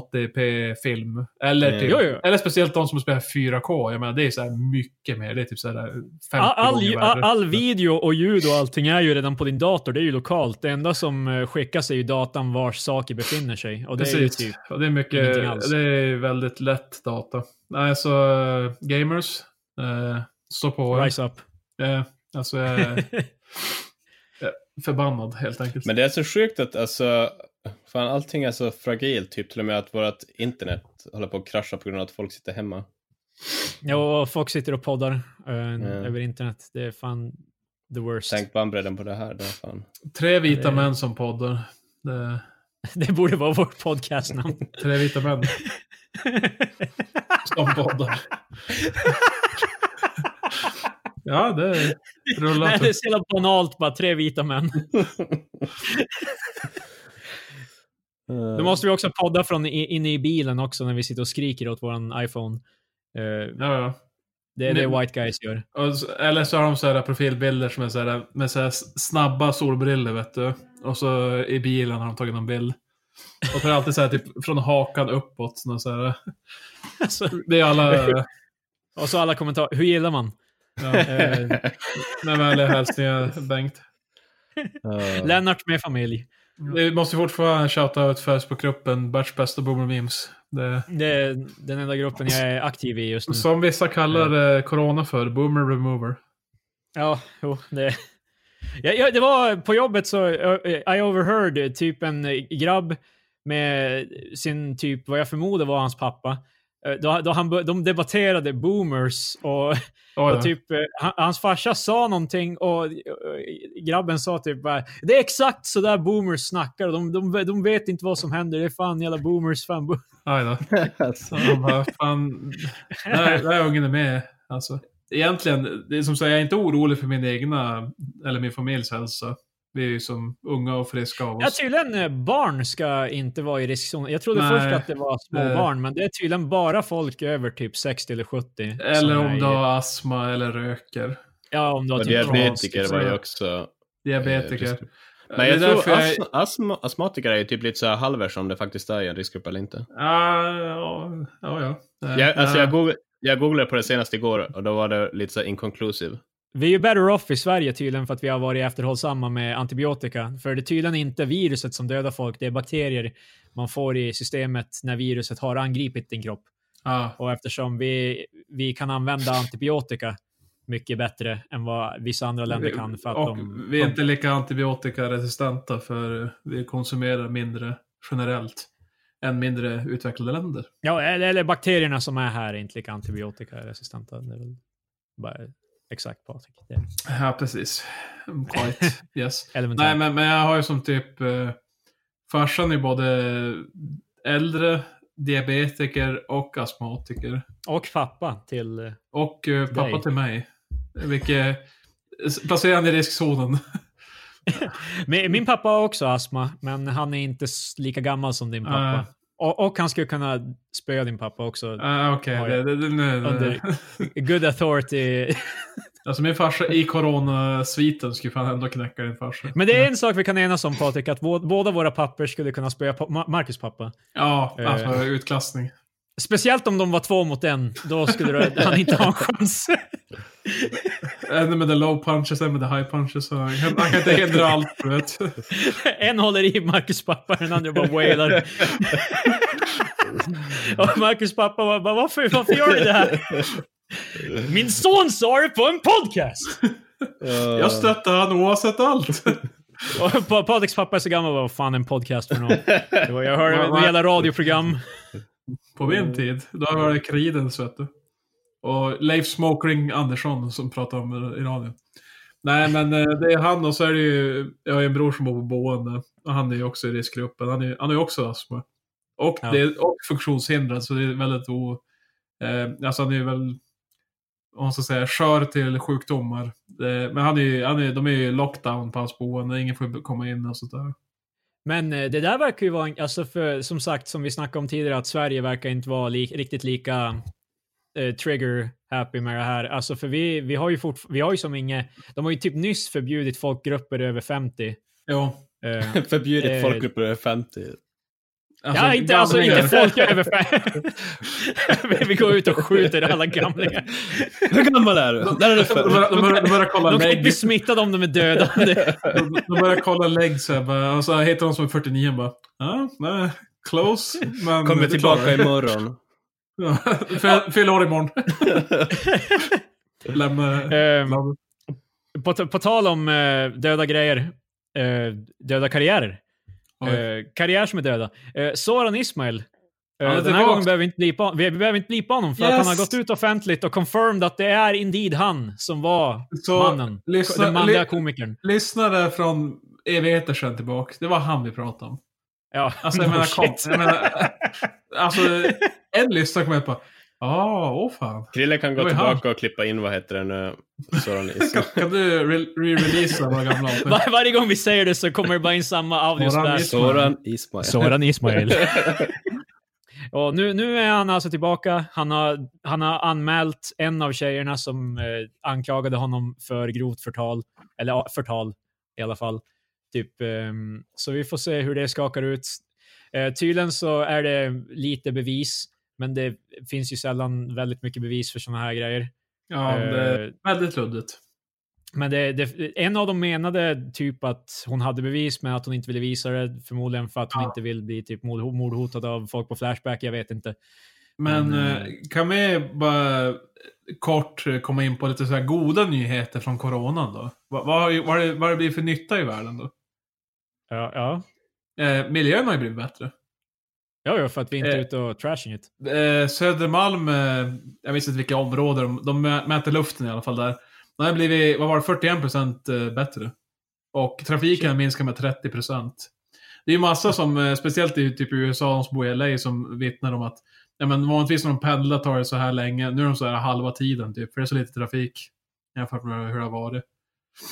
S2: 1080p-film. Eller,
S3: Mm.
S2: typ,
S1: Eh, Jo, jo.
S2: eller speciellt de som spelar 4K. Jag menar, det är så här mycket mer. Det är typ så här 50
S1: All,
S2: gånger
S1: all,
S2: värre.
S1: all video och ljud och allting är ju redan på din dator. Det är ju lokalt. Det enda som eh, skickas är ju datan vars saker befinner sig. Och det är ju
S2: Precis.
S1: typ...
S2: och det är mycket,
S1: ingenting alls.
S2: det är väldigt lätt data. Nej, så eh, gamers, eh, stå på er.
S1: Rise up. (laughs)
S2: Eh, alltså, jag är jag är förbannad helt enkelt.
S3: Men det är så sjukt att alltså, fan allting är så fragilt, typ till och med att vårt internet håller på att krascha på grund av att folk sitter hemma.
S1: Ja, och folk sitter och poddar eh, över internet. Det är fan the worst.
S3: Tänk bandbredden på det här, det är fan.
S2: Tre vita
S1: Det-
S2: män som poddar. Det,
S1: (laughs) Det borde vara vårt
S2: (laughs)
S1: podcastnamn.
S2: tre vita män som poddar. Ja, det rullar.
S1: Nej, det
S2: typ.
S1: är så jävla banalt bara. Tre vita män.
S3: Eh,
S1: Då måste vi också podda från i- inne i bilen också när vi sitter och skriker åt våran iPhone. Eh,
S2: Ja, ja.
S1: det är det
S2: Men-
S1: white guys gör. (laughs)
S2: Och så, eller så har de så här profilbilder som är så här, med så här snabba solbriller vet du. Och så i bilen har de tagit någon bild. Och så är det alltid så här typ från hakan uppåt. någon Så här,
S1: Alltså,
S2: det är alla
S1: och så alla kommentarer. Hur gillar man?
S2: ja,
S1: Eh,
S2: med vänliga hälsningar Bengt.
S3: Ja.
S1: Lennart med familj.
S2: Vi måste fortfarande shouta ut Facebookgruppen Batch Best och Boomer Memes. Det,
S1: Det är den enda gruppen jag är aktiv i just nu.
S2: som vissa kallar eh, corona för, Boomer Remover.
S1: Ja, jo, det... Ja, ja, det var på jobbet så eh, I overheard typ en eh, grabb med sin typ, vad jag förmodar var hans pappa. Eh, Då, då han, bör- de debatterade boomers och
S2: Oh, ja.
S1: Och typ, eh, han- hans farsa sa någonting och eh, grabben sa typ bara, det är exakt så där boomers snackar. De, de, de vet inte vad som händer. Det är fan jävla boomers. Fan bo
S2: Aj (laughs) då. Så de bara, fan, där, där är ungen med. Alltså, egentligen, det är som sagt, jag är inte orolig för min egna, eller min familjs hälsa. Vi är ju som unga och friska av
S1: ja,
S2: oss.
S1: tydligen eh, barn ska inte vara i riskzonen. Jag trodde
S2: Nej.
S1: först att det var små
S2: Eh.
S1: barn, men det är tydligen bara folk över typ 60 eller 70. som
S2: Eller
S1: är
S2: om
S1: i-
S2: du har astma eller röker.
S1: Ja, om du har
S3: Och
S1: typ
S3: diabetiker var ju också...
S2: Diabetiker.
S3: riskgrupp.
S2: Det
S3: Men
S2: är
S3: jag
S2: därför
S3: tror
S2: jag-
S3: astma, astma, astmatiker är ju typ lite så här halvers om det faktiskt är i en riskgrupp eller inte.
S2: Ah, ja, ja, ja. Ah. Nej,
S3: Jag, alltså
S2: nej.
S3: jag, googl- jag googlade på det senast igår och då var det lite så här inconclusive.
S1: Vi är ju better off i Sverige tydligen för att vi har varit efterhållsamma med antibiotika. För det är tydligen inte viruset som dödar folk, det är bakterier man får i systemet när viruset har angripit din kropp.
S2: Ah,
S1: Och eftersom vi, vi kan använda antibiotika mycket bättre än vad vissa andra länder kan. För att
S2: och
S1: de,
S2: vi är inte lika antibiotikaresistenta för vi konsumerar mindre generellt än mindre utvecklade länder.
S1: ja, eller, eller bakterierna som är här är inte lika antibiotikaresistenta. Det är väl bara exakt Patrik. Det är
S2: Ja, precis. Quite, (laughs) yes.
S1: elementärt.
S2: Nej, men, men jag har ju som typ... Eh, farsan är ju både äldre, diabetiker och astmatiker.
S1: Och pappa till... eh,
S2: Och eh, pappa
S1: Dig.
S2: till mig. Vilket... s- Placerar han i riskzonen. (laughs)
S1: Min, min pappa har också astma, men han är inte s- lika gammal som din pappa.
S2: Nej.
S1: Och, och han skulle kunna spöa din pappa också.
S2: Ah, Okej,
S1: Har
S2: det,
S1: jag.
S2: det, det, nu- nu-
S1: Under- Good authority. (laughs)
S2: Alltså min farsa i coronasviten skulle fan ändå knäcka din farsa.
S1: Men det är en sak vi kan enas om Patrik, att vå- båda våra papper skulle kunna spöa pa- Ma- Marcus pappa.
S2: Ja,
S1: Eh.
S2: alltså utklassning.
S1: Speciellt om de var två mot en. Då skulle du- han inte ha en chans.
S2: En med the low punches, en med the high punches. Så han, kan- han kan inte hindra allt, du vet.
S1: (laughs) En håller i Marcus pappa, den andra bara wailar. Och Marcus pappa var bara, varför, varför gör ni det här? Min son sa det på en podcast!
S3: Eh,
S2: Jag stöttar han oavsett allt.
S1: Och Pa- Patricks pappa är så gammal, vad fan en podcast för någon. Det var- Jag hörde
S2: Va- va?
S1: ett jävla radioprogram.
S2: På min
S1: Mm.
S2: tid, då var det Creedence vet du. Och Leif Smokering Andersson som pratade om det i radion. Nej men eh, det är han och så är det ju, jag har ju en bror som bor på boende. Och han är ju också i riskgruppen. Han är han har ju också astma. Och,
S1: Ja.
S2: det, och funktionshindrad så det är väldigt o... Eh, alltså han är ju väl, om man ska säga, skör till sjukdomar. Eh, men han är ju, han är, de är ju i lockdown på hans boende. Ingen får komma in och sånt där.
S1: Men eh, det där verkar ju vara, en- alltså för, som sagt, som vi snackade om tidigare, att Sverige verkar inte vara li, riktigt lika eh, trigger happy med det här. Alltså för vi, vi har ju fort, vi har ju som inget, de har ju typ nyss förbjudit folkgrupper över 50.
S2: Jo.
S1: Eh, Eh,
S3: Förbjudit folkgrupper över 50.
S1: ja, inte, alltså,
S2: gamlingar.
S1: inte folk över 50. (laughs) vi går ut och skjuter alla gamlingar.
S3: Hur gammal är du? Där är du
S2: De börjar, de börjar, de börjar
S1: De
S2: kolla
S1: kan inte
S2: lägg.
S1: bli smittade om de är
S2: (laughs)
S1: döda. Det-
S2: De, de börjar kolla lägg så här, bara, och så hittar de som är 49 bara. Ja, nej, close. Men
S3: Kommer
S2: du klarar
S3: tillbaka
S2: det."
S3: imorgon.
S2: Ja, Fyll- Fyll år imorgon. (laughs) Lämna.
S1: Ehm,
S2: lämna-
S1: På, t- på tal om eh, döda grejer, eh, döda karriärer.
S2: Oj.
S1: Eh, karriär som är döda. Eh, Soran Ismail. Eh,
S2: är
S1: den här
S2: tillbaks.
S1: gången behöver vi, inte blipa, vi, vi behöver inte blipa honom för att
S2: Yes.
S1: han har gått ut offentligt och confirmed att det är indeed han som var
S2: Så,
S1: mannen.
S2: lyssna-
S1: den manliga
S2: ly-
S1: komikern.
S2: Lyssnare från evigheter sedan tillbaka. Det var han vi pratade om.
S1: Ja,
S2: Alltså jag
S1: no (laughs)
S2: menar, kom,
S1: shit.
S2: jag menar alltså, en lyssnare kommer upp och Ah, åh fan.
S3: Krille kan gå
S2: Det var ju
S3: tillbaka och klippa in, vad heter den nu,
S1: (laughs)
S3: Soran Ismail.
S2: Kan du re- re-releasa några gamla avsnitt?
S1: Var, varje gång vi säger det så kommer det bara in samma
S2: Soran
S1: audiospass.
S2: Ismail.
S3: Soran Ismail.
S1: Soran Ismail. (laughs) Och nu, nu är han alltså tillbaka. Han har, han har anmält en av tjejerna som eh, anklagade honom för grovt förtal. Eller ja, förtal i alla fall. Typ, ehm, så vi får se hur det skakar ut. Eh, tydligen så är det lite bevis, men det finns ju sällan väldigt mycket bevis för sådana här grejer.
S2: Ja, det
S1: Eh,
S2: är väldigt luddigt.
S1: Men det, det, en av dem menade typ att hon hade bevis men att hon inte ville visa det. Förmodligen för att hon
S2: Ja.
S1: inte vill bli typ mord- mordhotad av folk på Flashback. Jag vet inte.
S2: Men
S1: Men,
S2: eh, kan vi bara kort eh, komma in på lite så här goda nyheter från coronan då? Vad, vad, har ju- vad, har det, vad har det blir för nytta i världen då?
S1: Ja, ja.
S2: Eh, miljön har ju blivit bättre.
S1: Ja, ja, för att vi inte är
S2: Eh.
S1: ute och trashing it.
S2: Eh, Södermalm, eh, jag minns inte vilka områden, de, de mäter luften i alla fall där. Den har blivit, vad var det, 41% eh, bättre. Och trafiken har minskat med 30%. Det är ju massa som, eh, speciellt i typ i USA, de som bor i LA, som vittnar om att ja, men vanligtvis när de pendlar tar det så här länge, nu är de så här halva tiden typ, för det är så lite trafik jämfört med hur det har varit.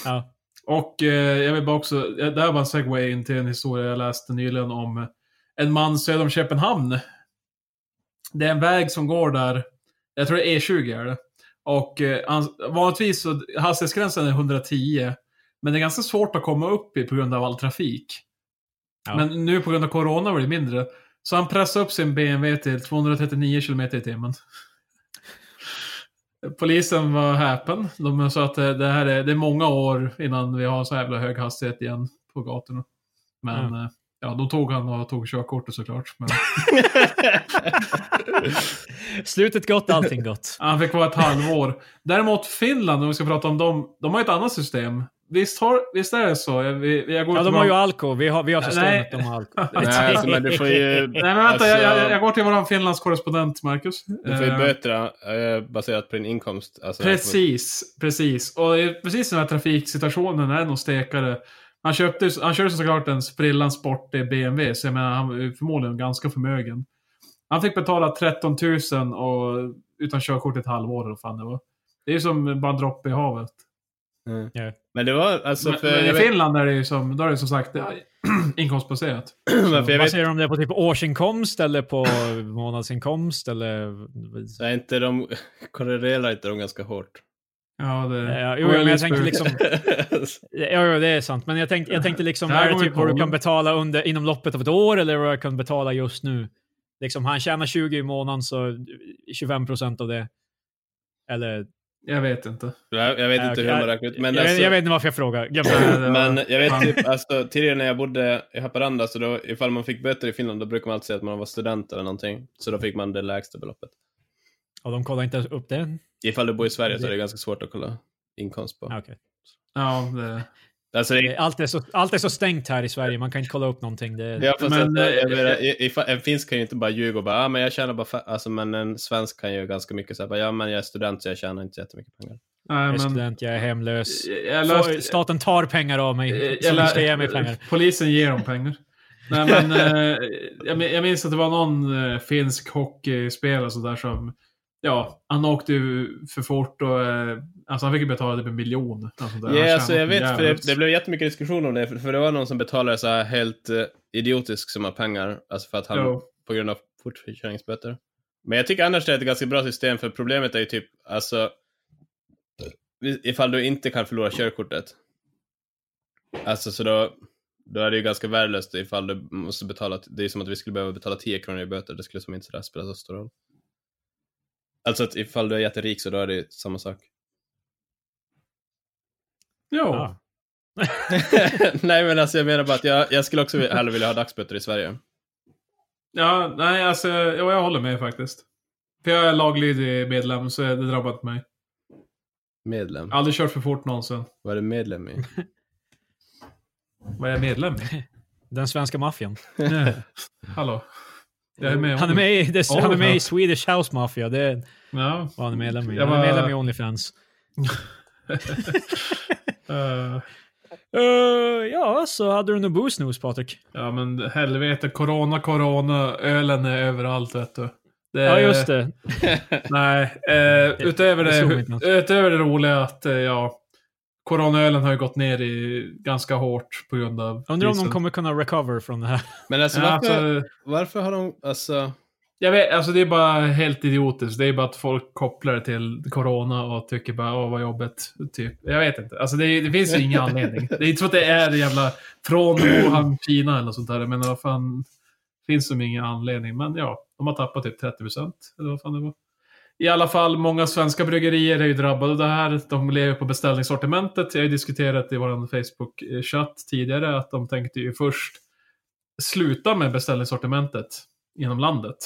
S1: Ja.
S2: Och eh, jag vill bara också, det här var en segway in till en historia jag läste nyligen om eh, en man söder om Köpenhamn. Det är en väg som går där, jag tror det är E20 är det. Och eh, ans- vanligtvis så, hastighetsgränsen är 110. Men det är ganska svårt att komma upp i på grund av all trafik.
S1: Ja.
S2: Men nu på grund av corona var det mindre. Så han pressade upp sin BMW till 239 km i timmen. Polisen var häpen. De sa att eh, det här är, det är många år innan vi har så jävla hög hastighet igen på gatorna. Men
S1: Mm.
S2: eh, ja, då tog han och tog körkortet såklart. Men (laughs)
S1: Slutet
S3: (laughs)
S1: gott, allting gott.
S2: han fick vara ett halvår. Däremot Finland, om vi ska prata om dem, de har ett annat system. Visst, har, visst är det så? Jag, vi- jag går
S1: Ja, de
S2: tillbaka-
S1: har ju alko. Vi har, vi har
S2: Nej.
S1: systemet, de har alko.
S3: (laughs) Nej, alltså, (laughs) men du får ju...
S2: Nej, men vänta, jag, jag, jag
S3: alltså,
S2: går till våran Finlands korrespondent Marcus.
S3: Du får ju
S2: Eh,
S3: böter eh, baserat på din inkomst. Alltså,
S2: Precis, precis. Och det är precis den här trafiksituationen är nog stekare. Han, köpte, han körde såklart en sprillans sportig BMW, så jag menar, han var ju förmodligen ganska förmögen. Han fick betala 13 000 och, utan körkort ett halvår, eller vad fan det var. Det är ju som bara en droppe i havet.
S3: Mm.
S1: Ja.
S3: Men det var alltså...
S2: Men,
S3: För,
S2: men i
S3: jag (clears throat) vet,
S2: Finland är det ju som, då är det som sagt eh, (clears throat) inkomstbaserat.
S3: men för jag
S1: Vad
S3: vet
S1: säger de om det på typ årsinkomst eller på månadsinkomst eller?
S3: så är inte de (laughs) korrelerar inte de ganska hårt. (laughs)
S2: Ja, det...
S1: Ja, jo, men jag tänker liksom,
S3: Alltså,
S1: ja, jo, det är sant. Men jag tänkte, jag tänkte liksom,
S2: Det här
S1: är det
S2: går ju
S1: typ vad du
S2: på.
S1: kan betala under, inom loppet av ett år eller vad jag kan betala just nu? Liksom, han tjänar 20 i månaden så 25 procent av det. Eller,
S2: Jag vet
S3: (clears throat)
S2: inte.
S3: jag jag vet
S1: Ja,
S3: inte
S1: okej.
S3: hur man räknar ut. Men
S1: jag,
S3: alltså,
S1: jag vet inte varför jag frågar. Glöm det.
S2: Nej, det var-
S3: Men jag vet
S2: fan.
S3: typ, alltså, tidigare när jag bodde i Haparanda, så då, ifall man fick böter i Finland, då brukar man alltid säga att man var student eller någonting. Så då fick man det lägsta beloppet.
S1: Ja, de kollar inte upp det.
S3: Ifall du bor i Sverige så är det ganska svårt att kolla inkomst på.
S1: Ah, okej.
S2: Ja, det...
S3: Alltså, det,
S1: Allt är, så, allt är så stängt här i Sverige, man kan inte kolla upp någonting. Det,
S3: ja, fast
S2: Men,
S3: att, jag
S2: eh,
S3: menar, i- ifall, en finsk kan ju inte bara ljuga och bara ah, men jag tjänar bara fa-" alltså, men en svensk kan ju ganska mycket säga ja men jag är student så jag tjänar inte jättemycket pengar.
S2: Nej,
S1: Jag är
S2: men...
S1: student, jag är hemlös.
S2: Jag
S1: Får-
S2: löste...
S1: Staten tar pengar av mig,
S2: Eh,
S1: så
S2: eller-
S1: du ska ge mig pengar.
S2: Polisen ger dem pengar. Nej, men, eh, jag min- jag minns att det var någon eh, finsk hockeyspelare så där som, ja, han åkte ju för fort och eh, alltså han fick ju betala typ en miljon. Alltså där.
S3: Ja,
S2: Han tjänade
S3: alltså, jag vet, för det,
S2: jävligt.
S3: det blev jättemycket diskussion om det, för, för det var någon som betalade så här helt eh, idiotisk summa pengar, alltså för att han
S2: Jo.
S3: på grund av fortkörningsböter. Men jag tycker annars det är ett ganska bra system, för problemet är ju typ, alltså, ifall du inte kan förlora körkortet. Alltså, så då, då är det ju ganska värdelöst ifall du måste betala, det är som att vi skulle behöva betala 10 kronor i böter, det skulle som inte sådär spela så stor roll. Alltså att ifall du är jätterik så då är det ju samma (laughs) sak.
S2: Jo.
S1: Ja.
S3: nej men alltså jag menar bara att jag, jag skulle också vilja- hellre vilja ha dagsböter i Sverige.
S2: Ja, nej, alltså, jo, jag håller med faktiskt. För jag är laglydig medlem, så det drabbar inte mig.
S3: Medlem?
S2: Aldrig kört för fort någonsin.
S3: Vad är du medlem i?
S2: Vad är jag medlem i?
S1: Den svenska maffian.
S2: Nej. (laughs) Hallå? Jag är med.
S1: Han är med, i, det, han är med
S2: ja.
S1: i Swedish House Mafia, det är
S2: Ja.
S1: vad han är medlem i.
S2: Jag
S1: Han är
S2: var-
S1: medlem i Onlyfans.
S2: Eh,
S1: Eh, ja, så hade du nog boosnus, Patrik.
S2: Ja men helvete, corona, corona, ölen är överallt vet du. Det,
S1: Ja, just det.
S2: Nej, eh, utöver,
S1: det
S2: det,
S1: såg vi inte ens.
S2: utöver det roliga att eh, ja, coronaölen har ju gått ner i ganska hårt på grund av
S1: Jag undrar om de
S2: krisen.
S1: kommer kunna recover från det här.
S3: Men alltså,
S2: ja,
S3: varför,
S2: alltså,
S3: varför har de... Alltså,
S2: jag vet, alltså det är bara helt idiotiskt. Det är bara att folk kopplar det till corona och tycker bara åh vad jobbigt. Typ. Jag vet inte. Alltså det, det finns ju ingen anledning. Det är inte så att det är jävla från Wuhan, Kina eller något sånt där. Men vad fan, finns som ingen anledning. Men ja, de har tappat typ 30 procent. Eller vad fan det var. I alla fall, många svenska bryggerier är ju drabbade av det här. De lever på beställningssortimentet. Jag har ju diskuterat i vår Facebook-chatt tidigare att de tänkte ju först sluta med beställningssortimentet genom landet.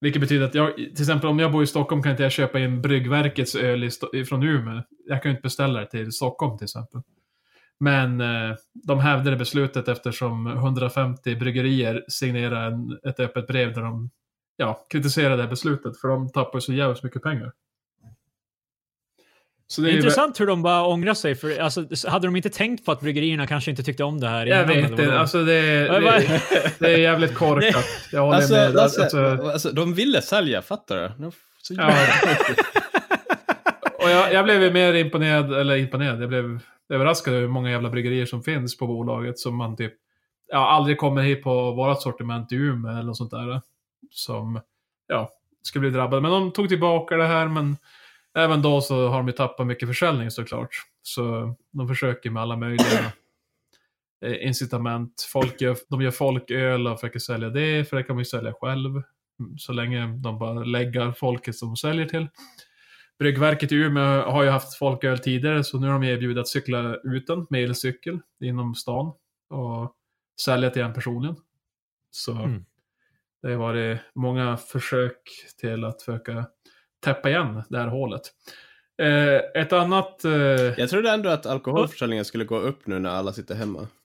S2: Vilket betyder att jag, till exempel om jag bor i Stockholm kan inte jag köpa in Bryggverkets öl i Sto- från Umeå. Jag kan ju inte beställa det till Stockholm till exempel. Men eh, de hävdade beslutet eftersom 150 bryggerier signerade en, ett öppet brev där de ja, kritiserade det här beslutet. För de tappar ju så jävligt mycket pengar. Så
S1: Det
S2: ju
S1: är
S2: vä-
S1: intressant hur de bara ångrar sig. För, alltså, hade de inte tänkt på att bryggerierna kanske inte tyckte om det här?
S2: Jag
S1: innan,
S2: vet
S1: eller vadå?
S2: inte, alltså det,
S1: Ja, jag
S2: det, det är jävligt korkat. Jag håller
S3: alltså,
S2: med.
S3: Lasse,
S2: Alltså,
S3: alltså, de ville sälja, fattar du? De, så
S2: Ja. (laughs) Och jag, jag blev ju mer imponerad, eller imponerad, jag blev överraskad över hur många jävla bryggerier som finns på bolaget som man typ ja, aldrig kommer hit på vårat sortiment i Umeå eller något sånt där. Som ja, skulle bli drabbade. Men de tog tillbaka det här, men även då så har de ju tappat mycket försäljning såklart. Så de försöker med alla möjliga eh, incitament. Folk gör, de gör folköl och försöker sälja det, för det kan man ju sälja själv. Så länge de bara lägger folket som de säljer till. Bryggverket i Umeå har ju haft folköl tidigare, så nu har de erbjudit att cykla ut den med elcykel inom stan och sälja till en personligen. Så
S1: Mm.
S2: det har varit många försök till att försöka täppa igen det här hålet. Eh, ett annat... Eh,
S3: Jag trodde ändå att alkoholförsäljningen skulle gå upp nu när alla sitter hemma.
S1: (laughs)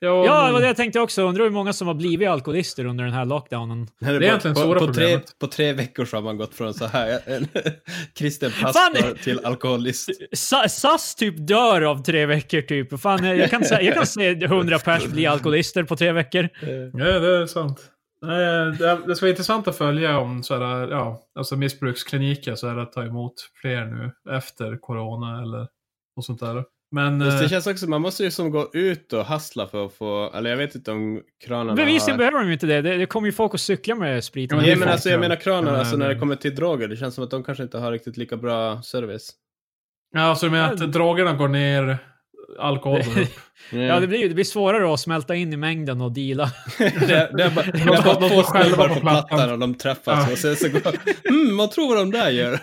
S1: Ja, det var det jag tänkte också. Undrar hur många som har blivit alkoholister under den här lockdownen.
S3: Det är,
S2: egentligen stora
S3: på, på, tre,
S2: problemet.
S3: på tre veckor så har man gått från så här en (laughs) kristen
S1: Fan!
S3: pastor
S2: (laughs)
S3: till alkoholist.
S2: Eh.
S1: Sa- SAS typ dör av tre veckor typ. Fan, jag kan, sä- jag kan se 100 pers bli alkoholister på tre
S2: (laughs)
S1: veckor.
S2: Ja, det är sant. Nej, Det det ska vara intressant att följa om så här, ja, alltså missbrukskliniker så här, att ta emot fler nu efter corona eller och sånt där. Men
S3: Fast
S2: eh,
S3: Det känns också, man måste ju som gå ut och hassla för att få, eller jag vet inte om kranarna
S1: Bevisligen
S3: har...
S1: behöver de ju inte det. det. Det kommer ju folk att cykla med spriten.
S2: Ja,
S3: Nej
S2: det
S3: men
S2: är
S3: alltså jag
S2: folk, ja.
S3: menar kranar,
S2: Men,
S3: alltså när det
S2: eh,
S3: kommer till droger, det känns som att de kanske inte har riktigt lika bra service.
S2: ja, så du menar att drogerna går ner, alkoholen går upp? Eh.
S1: Ja, det blir ju det blir svårare att smälta in i mängden och deala.
S3: Det, det är bara, det
S2: de
S3: är bara
S2: står
S3: två
S2: själva
S3: snubbar
S2: på
S3: på
S2: plattan.
S3: plattan och de träffas
S2: Ja.
S3: och sen så går mm, vad tror de där gör?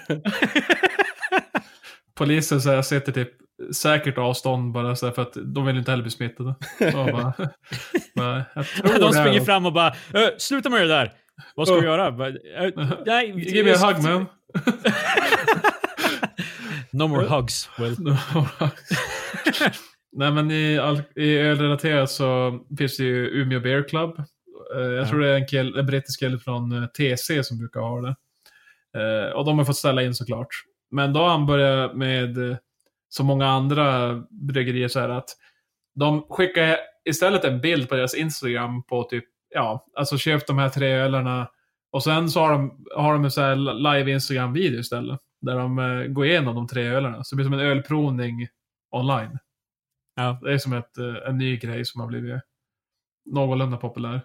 S2: Polisen så här, sitter typ säkert avstånd bara så här, för att de vill inte heller bli smittade. Och bara, (laughs) bara, jag
S1: (laughs)
S2: tror
S1: De
S2: det är
S1: springer
S2: de.
S1: fram och bara "Ö, “Sluta med det där!” Vad ska vi
S2: Oh.
S1: göra? Bara, "Ö, Nej,
S2: (laughs) Give me a hug man.
S1: No more
S2: Eh.
S1: hugs. Will.
S2: (laughs) Nej men i, all- i ölrelaterat så finns det ju Umeå Beer Club. Eh, Jag tror det är en, kill, en brittisk kille från eh, TC som brukar ha det. Eh, Och de har fått ställa in såklart. Men då har han börjat med, eh, som många andra bryggerier, så här att de skickar istället en bild på deras Instagram på typ, ja, alltså köp de här tre ölarna. Och sen så har de, har de en så här live Instagram-video istället. Där de eh, går igenom de tre ölarna. Så det blir som en ölprovning online.
S1: Ja.
S2: Det är som ett, eh, en ny grej som har blivit någorlunda populär.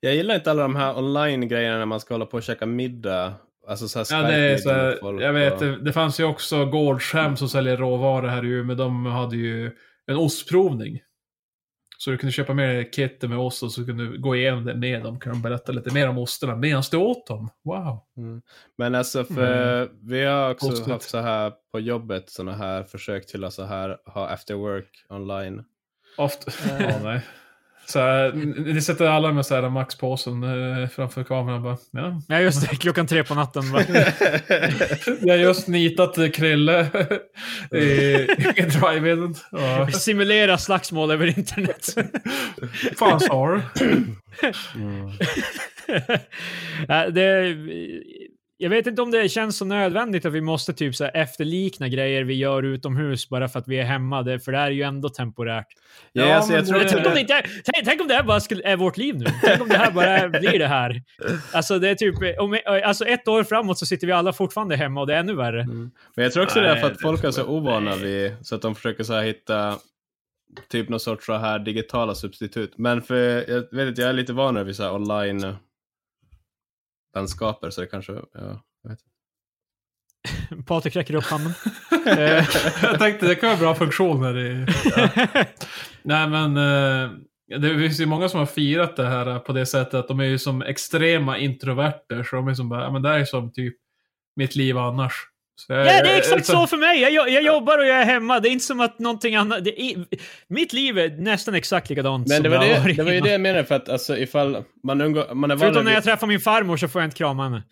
S3: Jag gillar inte alla de här online-grejerna när man ska hålla på och käka middag. Alltså så här
S2: Ja, det är
S3: Skype-middag
S2: så här,
S3: med folk
S2: jag vet,
S3: och...
S2: det, det fanns ju också Gårdshem som säljer råvaror här i Umeå. De hade ju en ostprovning. Så du kunde köpa med dig kittet med ost och så kunde du gå igenom det med dem. Kan de berätta lite mer om osterna medan du åt dem. Wow.
S3: Mm. Men alltså, för
S2: Mm.
S3: vi har också
S2: Konstigt.
S3: haft så här på jobbet, såna här försök till att så här ha after work online.
S2: Ofta. ja, nej. Så här, n- ni sätter alla med så här maxpåsen eh, framför kameran bara. Ja.
S1: Ja, just det. Klockan tre på natten.
S2: (laughs)
S1: Bara.
S2: Jag har just nitat eh, Krille i, i drive-in. Ja.
S1: Simulera slagsmål över
S2: (laughs)
S1: internet.
S2: Fan sa du?
S1: Ja, Eh, det, jag vet inte om det känns så nödvändigt att vi måste typ så här efterlikna grejer vi gör utomhus bara för att vi är hemma. Det, för det här är ju ändå temporärt.
S2: Ja,
S3: alltså,
S2: men
S3: jag tror
S2: det-
S1: Tänk om det, inte är, tänk, tänk om det här bara skulle, är vårt liv nu. Tänk om det här bara är- blir det här. Alltså, det är typ, om, alltså ett år framåt så sitter vi alla fortfarande hemma och det är ännu värre.
S3: Men jag tror också det är för
S2: Nej,
S3: att
S2: det
S3: folk är
S2: tror
S3: så
S2: jag-
S3: ovana
S2: nej.
S3: vid, så att de försöker så här hitta typ någon sorts så här digitala substitut. Men för jag vet inte, jag är lite van vid så här online landskaper så det kanske, ja. jag vet inte.
S1: Patrik räcker upp handen.
S2: jag tänkte det kan vara bra funktioner i... Nej men, eh, det finns ju många som har firat det här eh, på det sättet att de är ju som extrema introverter. Så de är som bara, ja men det här är som typ mitt liv annars. Så
S3: Eh,
S2: jag-
S1: Ja, det är
S2: jag-
S1: exakt
S2: (laughs)
S1: så för mig. Jag, jag, jag jobbar och jag är hemma. Det är inte som att någonting annat... Det är, mitt liv är nästan exakt likadant
S3: Men
S1: som
S3: det var,
S1: har
S3: det,
S1: varit
S3: det var ju
S1: innan.
S3: det jag menade för att alltså ifall man umgår, man är van
S1: Förutom när
S3: vid,
S1: jag träffar min farmor så får jag inte krama henne.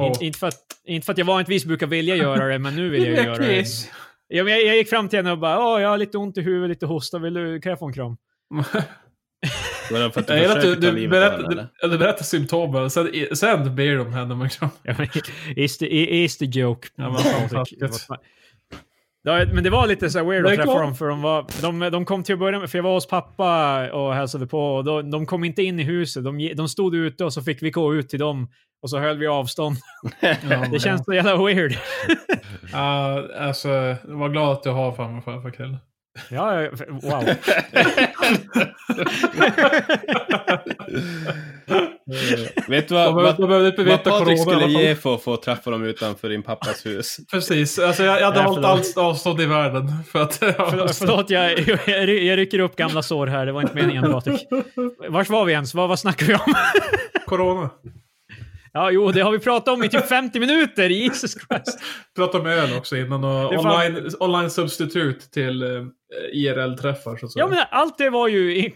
S2: Åh.
S1: Inte, inte, för att, inte för att jag vanligtvis brukar vilja göra det, men nu
S3: (laughs)
S1: vill jag
S2: Lilla
S1: göra det.
S2: knis.
S1: Ja, men Jag, jag gick fram till henne och bara Åh, jag har lite ont i huvudet, lite hosta. Vill du, kan jag få en kram?
S3: var det för att du
S2: Jag gillar att du,
S3: försöker ta
S2: du,
S3: livet av
S2: berättar,
S3: den, eller?
S2: du, du berättar symptomen, sen, sen ber de henne om liksom.
S1: Ja, men, is, the, is the joke.
S2: Ja, men
S1: Patrik.
S2: fantastiskt.
S1: Ja, men det var lite så här weird att
S2: Det
S1: träffa
S2: kom-
S1: dem, för de, var, de, de kom till att börja med, för jag var hos pappa och hälsade på, och de, de kom inte in i huset. De, ge- de stod ute och så fick vi gå ut till dem, och så höll vi avstånd.
S2: Ja,
S1: (laughs) Det känns så jävla weird.
S2: Ja, alltså, var glad att du har farmor och farfar Krille.
S1: Ja, ja, f- wow.
S3: Vet du
S2: De
S3: vad,
S2: behöver-
S3: vad,
S2: de behöver inte
S3: vad
S2: bevita corona
S3: Patrik
S2: i alla
S3: skulle
S2: fall.
S3: ge för att få träffa dem utanför din pappas hus?
S2: Precis, alltså jag, jag hade
S1: Ja,
S2: hållit
S1: förlåt.
S2: allt avstånd i världen. (laughs) För att,
S1: Förlåt, förlåt jag, jag, ry- jag rycker upp gamla sår här. Det var inte meningen, Patrik. Vars var vi ens? Vad, vad snackar vi om? (laughs)
S2: Corona.
S1: Ja, jo, det har vi pratat om i typ 50 minuter. Jesus Christ.
S2: Pratade om öl också innan och
S1: Det är fan-
S2: online, online substitut till eh, IRL-träffar. Så, att säga.
S1: Ja, men allt det var ju...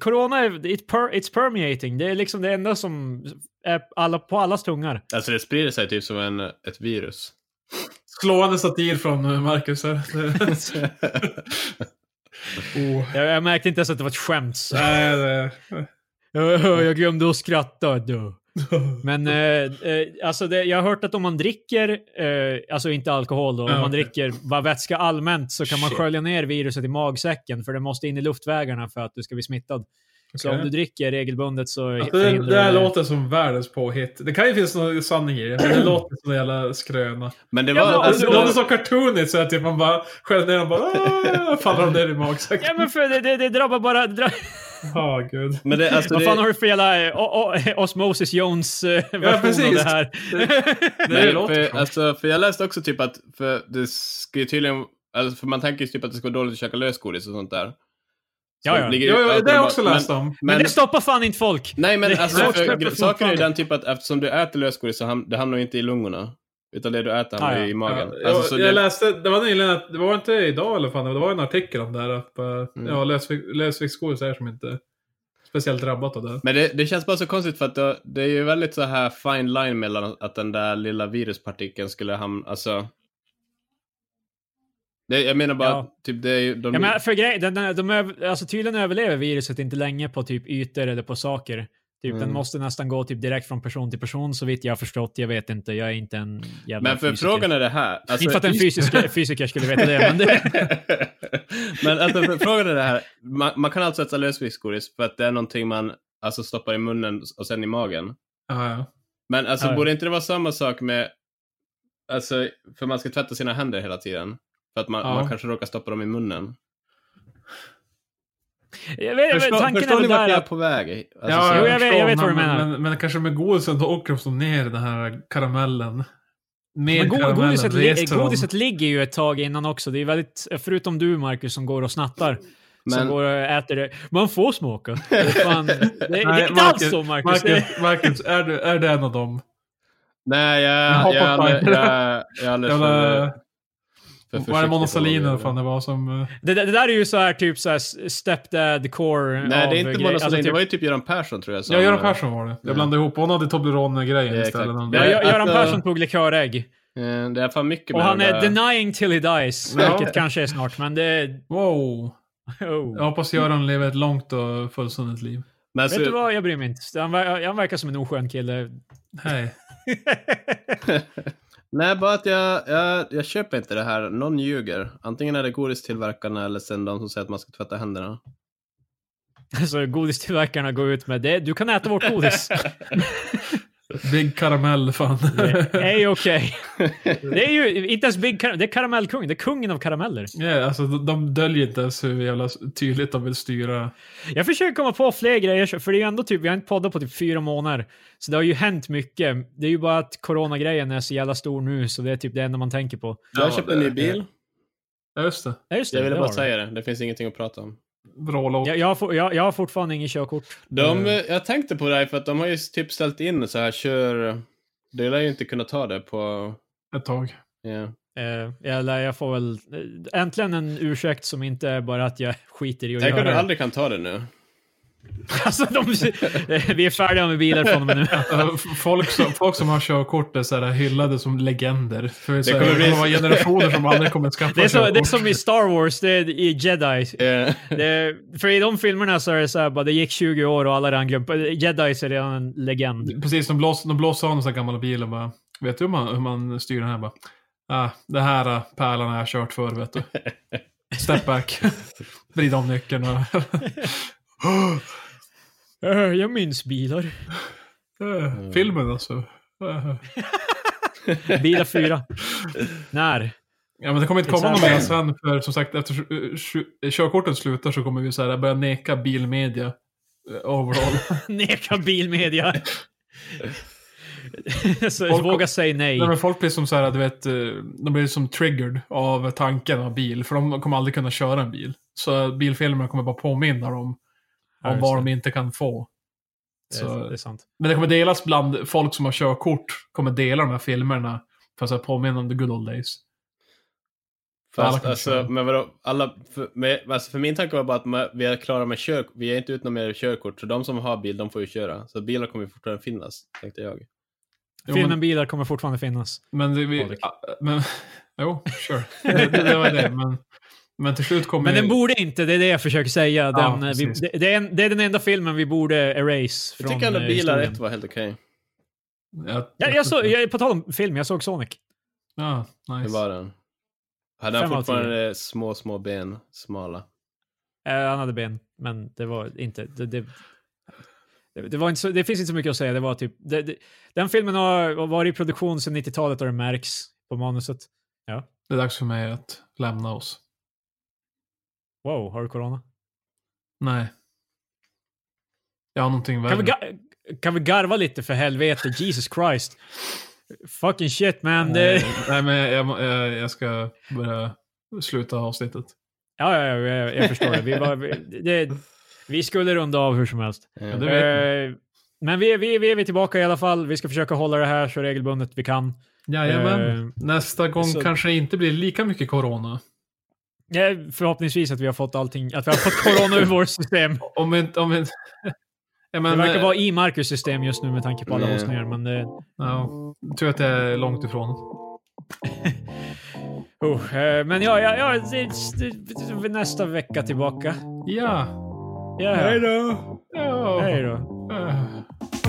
S1: Corona, är- it per, it's permeating. Det är liksom det enda som är alla, på allas tungar.
S3: Alltså det sprider sig typ som en,
S2: (laughs)
S3: ett virus.
S2: Slående satir från eh,
S1: (laughs)
S2: Marcus här. (laughs) oh.
S1: Jag, jag märkte inte ens att det var ett skämt.
S2: (laughs)
S1: Så.
S2: Nej, det...
S1: Jag glömde att skratta. Då. Men eh, eh, alltså det, jag har hört att om man dricker, eh, alltså inte alkohol då,
S2: Ja,
S1: om man
S2: okej.
S1: dricker bara vätska allmänt så kan man
S3: Shit.
S1: skölja ner viruset i magsäcken för det måste in i luftvägarna för att du ska bli smittad. Så
S2: Okej.
S1: om du dricker regelbundet så
S2: Alltså, det,
S1: förhindrar
S2: det här
S1: du-
S2: låter som världens påhitt. Det kan ju finnas någon sanning i det, men det låter som en jävla skröna.
S3: Men det var...
S1: Ja, men-
S2: Alltså,
S3: alltså,
S2: det låter så cartoonigt så att typ man bara skär ner och bara
S1: (laughs)
S2: "Ah", faller de ner i magsäcken.
S1: Ja men för det, det, det drabbar bara... Det dra...
S2: Ja, gud.
S3: men det, alltså,
S1: Vad fan har
S3: det,
S1: du för jävla eh, o- o- Osmosis Jones-version av
S2: precis.
S1: det här? (laughs)
S2: det
S3: nej,
S2: låter
S3: för,
S2: så.
S3: alltså, för jag läste också typ att, för det ska ju tydligen, alltså, för man tänker ju typ att det ska vara dåligt att käka lösgodis och sånt där. Så
S1: Ja, ja.
S3: ligger
S2: Jo,
S3: ju-
S2: jo, det har jag också
S3: men-
S2: läst om.
S1: Men
S3: Men,
S1: det stoppar fan inte folk!
S3: nej men
S1: det-
S3: alltså,
S1: folk
S3: för,
S1: släpper
S3: saken är ju
S1: fortfarande.
S3: den typ att eftersom du äter lösgodis så ham, det hamnar ju inte i lungorna. Utan det du äter hamnar
S1: Ah, ja.
S3: ju i magen.
S2: Ja,
S3: alltså, så
S2: jag, jag
S3: det,
S2: läste, det var nyligen att, det var inte idag eller fan, det var en artikel om det här. Att, eh,
S1: Mm.
S2: Ja, lösvikt- lösviktsgodis är som inte speciellt drabbat av det. här.
S3: men det, det känns bara så konstigt för att det, det är ju väldigt så här fine line mellan att den där lilla viruspartikeln skulle hamna, alltså. Det, jag menar bara,
S1: Ja.
S3: att typ det är ju... De,
S1: Ja, men för grej, den, den, de, öv- alltså tydligen överlever viruset inte länge på typ ytor eller på saker. Typ, Den
S3: Mm.
S1: måste nästan gå typ direkt från person till person så vitt jag har förstått. Jag vet inte, jag är inte en jävla
S3: Men för
S1: fysiker.
S3: frågan är det här. Alltså,
S1: inte för att en fysiker, fysiker skulle veta det,
S3: (laughs)
S1: men det,
S3: men alltså, för frågan är det här. Man, man kan alltså äta lösviktsgodis för att det är någonting man alltså, stoppar i munnen och sen i magen.
S2: Ja, ja.
S3: Men alltså,
S1: Ja, ja.
S3: borde inte det vara samma sak med... Alltså, för man ska tvätta sina händer hela tiden. För att man,
S2: Ja.
S3: man kanske råkar stoppa dem i munnen.
S1: jag vet,
S3: Förstår,
S1: tanken
S3: förstår
S1: är
S3: ni
S1: väl
S3: vart
S1: där
S3: jag är
S1: att...
S3: på väg? Alltså,
S2: ja,
S3: så-
S1: Jo, jag vet-
S2: förstår,
S1: jag vet vad du
S2: men-
S1: menar.
S2: Men, men kanske med godisen då åker de som ner i den här karamellen. Med
S1: Men go-
S2: karamellen
S1: godiset, li,
S2: reser de.
S1: godiset ligger ju ett tag innan också. Det är väldigt, förutom du Marcus som går och snattar,
S3: Men-
S1: som går och äter det. Man får
S3: (laughs)
S1: smaka. Det är, fan, det, det är
S2: Nej,
S1: inte
S2: Marcus-
S1: alls så Marcus. Det-
S2: Marcus, Marcus är, du, är du en av dem?
S3: Nej, jag
S2: Jag
S3: jag
S2: hoppar
S3: är alldeles-
S2: på-
S3: jag är- jag är alldeles
S2: Eller,
S3: för- för
S2: var det Mona
S3: försiktig på vad jag
S2: Sahlin eller
S3: gör.
S2: vad fan det var som... eh,
S1: Det, det, det där är ju så här typ så här stepdad core
S3: Nej,
S1: av
S3: det är inte
S1: grejer.
S3: Mona Sahlin.
S1: Alltså,
S3: Det
S1: typ-
S3: var ju typ Göran Persson tror jag. som-
S2: Ja, Göran Persson var det.
S3: Ja.
S2: Jag blandade ihop. Hon hade Toblerone-grejen
S3: Ja,
S2: istället.
S3: exakt.
S1: Ja,
S3: Det-
S1: Gö- Göran
S3: alltså-
S1: Persson tog likörägg.
S3: Eh, Det är fan mycket
S1: Och
S3: med
S1: han
S3: de
S1: är
S3: där-
S1: denying till he dies,
S2: Ja.
S1: vilket kanske är snart, men det...
S2: Wow.
S1: Oh.
S2: Jag hoppas Göran lever ett långt och fullständigt liv.
S3: Men alltså,
S1: Vet du vad, jag bryr mig inte. Han, ver- han verkar som en oskön kille. (laughs)
S2: Hej.
S3: Nej, bara att jag, jag, jag köper inte det här. Någon ljuger. Antingen är det godistillverkarna eller sen de som säger att man ska tvätta händerna.
S1: Så godistillverkarna går ut med det. Du kan äta vårt
S2: (laughs)
S1: godis.
S2: Big karamell, fan.
S1: (laughs) Det är ju
S3: (laughs)
S1: okej. Det är ju inte ens Big Kar- Det är karamellkung. Det är kungen av karameller.
S2: Ja, alltså, de- de döljer inte ens hur jävla tydligt de vill styra.
S1: Jag försöker komma på fler grejer, för det är ju ändå typ, vi har inte poddat på typ fyra månader. Så det har ju hänt mycket. Det är ju bara att coronagrejen är så jävla stor nu, så det är typ det enda man tänker på.
S3: Jag
S2: Ja,
S3: köpte en
S2: det-
S3: ny bil.
S2: Ja, just det.
S1: Ja, just det,
S3: Jag ville
S1: det
S3: bara
S1: har du.
S3: säga det. Det finns ingenting att prata om.
S2: Vrålåt.
S1: Jag, jag, har, for- jag, jag har fortfarande inget körkort.
S3: De,
S2: Mm.
S3: eh, Jag tänkte på det här för att de har ju typ ställt in så här kör... Det lär ju inte kunna ta det på...
S2: Ett tag.
S3: ja.
S1: Eh, Eller jag får väl eh, äntligen en ursäkt som inte är bara att jag skiter i att
S3: Tänk om
S1: göra
S3: du
S1: det.
S3: aldrig kan ta det nu.
S1: (laughs) Alltså, de, (laughs) vi är färdiga med bilar från och
S3: (laughs)
S1: med nu.
S2: Alltså, f- folk, som, folk som har körkort är så här hyllade som legender. För så här, det
S3: kommer
S2: kommer,
S3: bli-
S2: vara generationer som aldrig kommer skaffa
S1: Det är, så, det är
S2: körkort.
S1: som i Star Wars, det är i Jedi. (laughs)
S3: Eh,
S1: Det, för i de filmerna så är det så här, bara, det gick 20 år och alla redan glömt. Jedis är redan en legend.
S2: Precis, de blåser, de blåser av en sån här gammal bil och bara, vet du hur man, hur man styr den här? Bara, ah, det här eh, pärlan har jag kört förr, vet du. Step back. (laughs) Vrid om nyckeln och... (laughs)
S1: Eh, Jag minns bilar.
S2: Eh, Filmen alltså. Eh.
S1: Bilar 4. När?
S2: Ja, men det kommer inte komma
S1: Exakt.
S2: någon mer sen, för som sagt, efter eh, sju- körkortet slutar så kommer vi så här, börja neka bilmedia eh, overall.
S1: Neka bilmedia. (laughs) så
S2: Folk-
S1: våga säga nej.
S2: Nej, men folk blir som så här, du vet, eh, de blir som triggered av tanken av bil, för de kommer aldrig kunna köra en bil. Så bilfilmerna kommer bara påminna dem
S1: Ja,
S2: om
S1: just
S2: vad
S1: det.
S2: de inte kan få.
S1: Det,
S2: Så,
S1: det är sant.
S2: men det kommer delas bland folk som har körkort, kommer dela de här filmerna för att så här, påminna om the good old days. Alla
S3: Fast
S2: kan
S3: alltså,
S2: köra.
S3: men vadå, alla, för, men, alltså för min tanke var bara att man, vi är klara med kör, vi är inte ut något mer körkort, så de som har bil, de får ju köra. Så bilar kommer ju fortfarande finnas, tänkte jag.
S2: Jo,
S1: Filmen
S2: men-
S1: bilar kommer fortfarande finnas.
S2: Men det, vi,
S1: Patrik.
S2: ah, men, (laughs) jo, sure. det, det, det var det. Men, men till slut kommer
S1: Men den
S2: ju-
S1: borde inte, det är det jag försöker säga.
S2: Ja,
S1: Den, eh, vi,
S2: precis.
S1: det, det, är en, det är den enda filmen vi borde erase
S3: Jag
S1: från
S3: tycker ändå
S1: eh,
S3: bilar
S1: historien.
S3: ett var helt okej.
S2: Jag,
S1: Ja, jag såg, jag, på tal om film, jag såg Sonic.
S2: Ja,
S3: Det
S2: nice.
S3: var den. Hade
S1: Fem
S3: han
S1: av
S3: fortfarande små, små ben, smala?
S1: Eh, han hade ben, men det var inte... Det, det, det, det, var inte så, det finns inte så mycket att säga. Det var typ, det, det, den filmen har varit i produktion sedan 90-talet och det märks på manuset.
S2: Det är dags för mig att lämna oss.
S1: Wow, har du corona?
S2: Nej. Jag har någonting värre.
S1: Kan vi, ga- kan vi garva lite för helvete? Jesus Christ. Fucking shit
S2: Ehm,
S1: man. Det,
S2: Nej, Eh, Nej, men jag, jag, jag, jag ska börja sluta avsnittet.
S1: (laughs) ja, ja, ja, jag, jag förstår det. Vi, var, vi, det. vi skulle runda av hur som helst.
S2: Ja, det vet ni.
S1: Eh, men vi, vi, vi är vi tillbaka i alla fall. Vi ska försöka hålla det här så regelbundet vi kan.
S2: Jajamän.
S1: Eh,
S2: Nästa gång
S1: så-
S2: kanske det inte blir lika mycket corona.
S1: Ja, förhoppningsvis att vi har fått allting, att vi har fått corona ur vårt
S3: (laughs)
S1: system.
S2: Om vi inte... Om vi (laughs) inte... Ja, men,
S1: Det verkar
S2: eh,
S1: vara i Marcus system just nu med tanke på alla
S3: Mm.
S1: hostningar, men eh,
S2: Ja, tur att jag är långt ifrån.
S1: oh, eh, Men ja, ja, ja det, det, det, det, nästa vecka tillbaka.
S2: Ja.
S1: Ja,
S3: då!
S2: ja.
S1: hej då.
S2: Eh.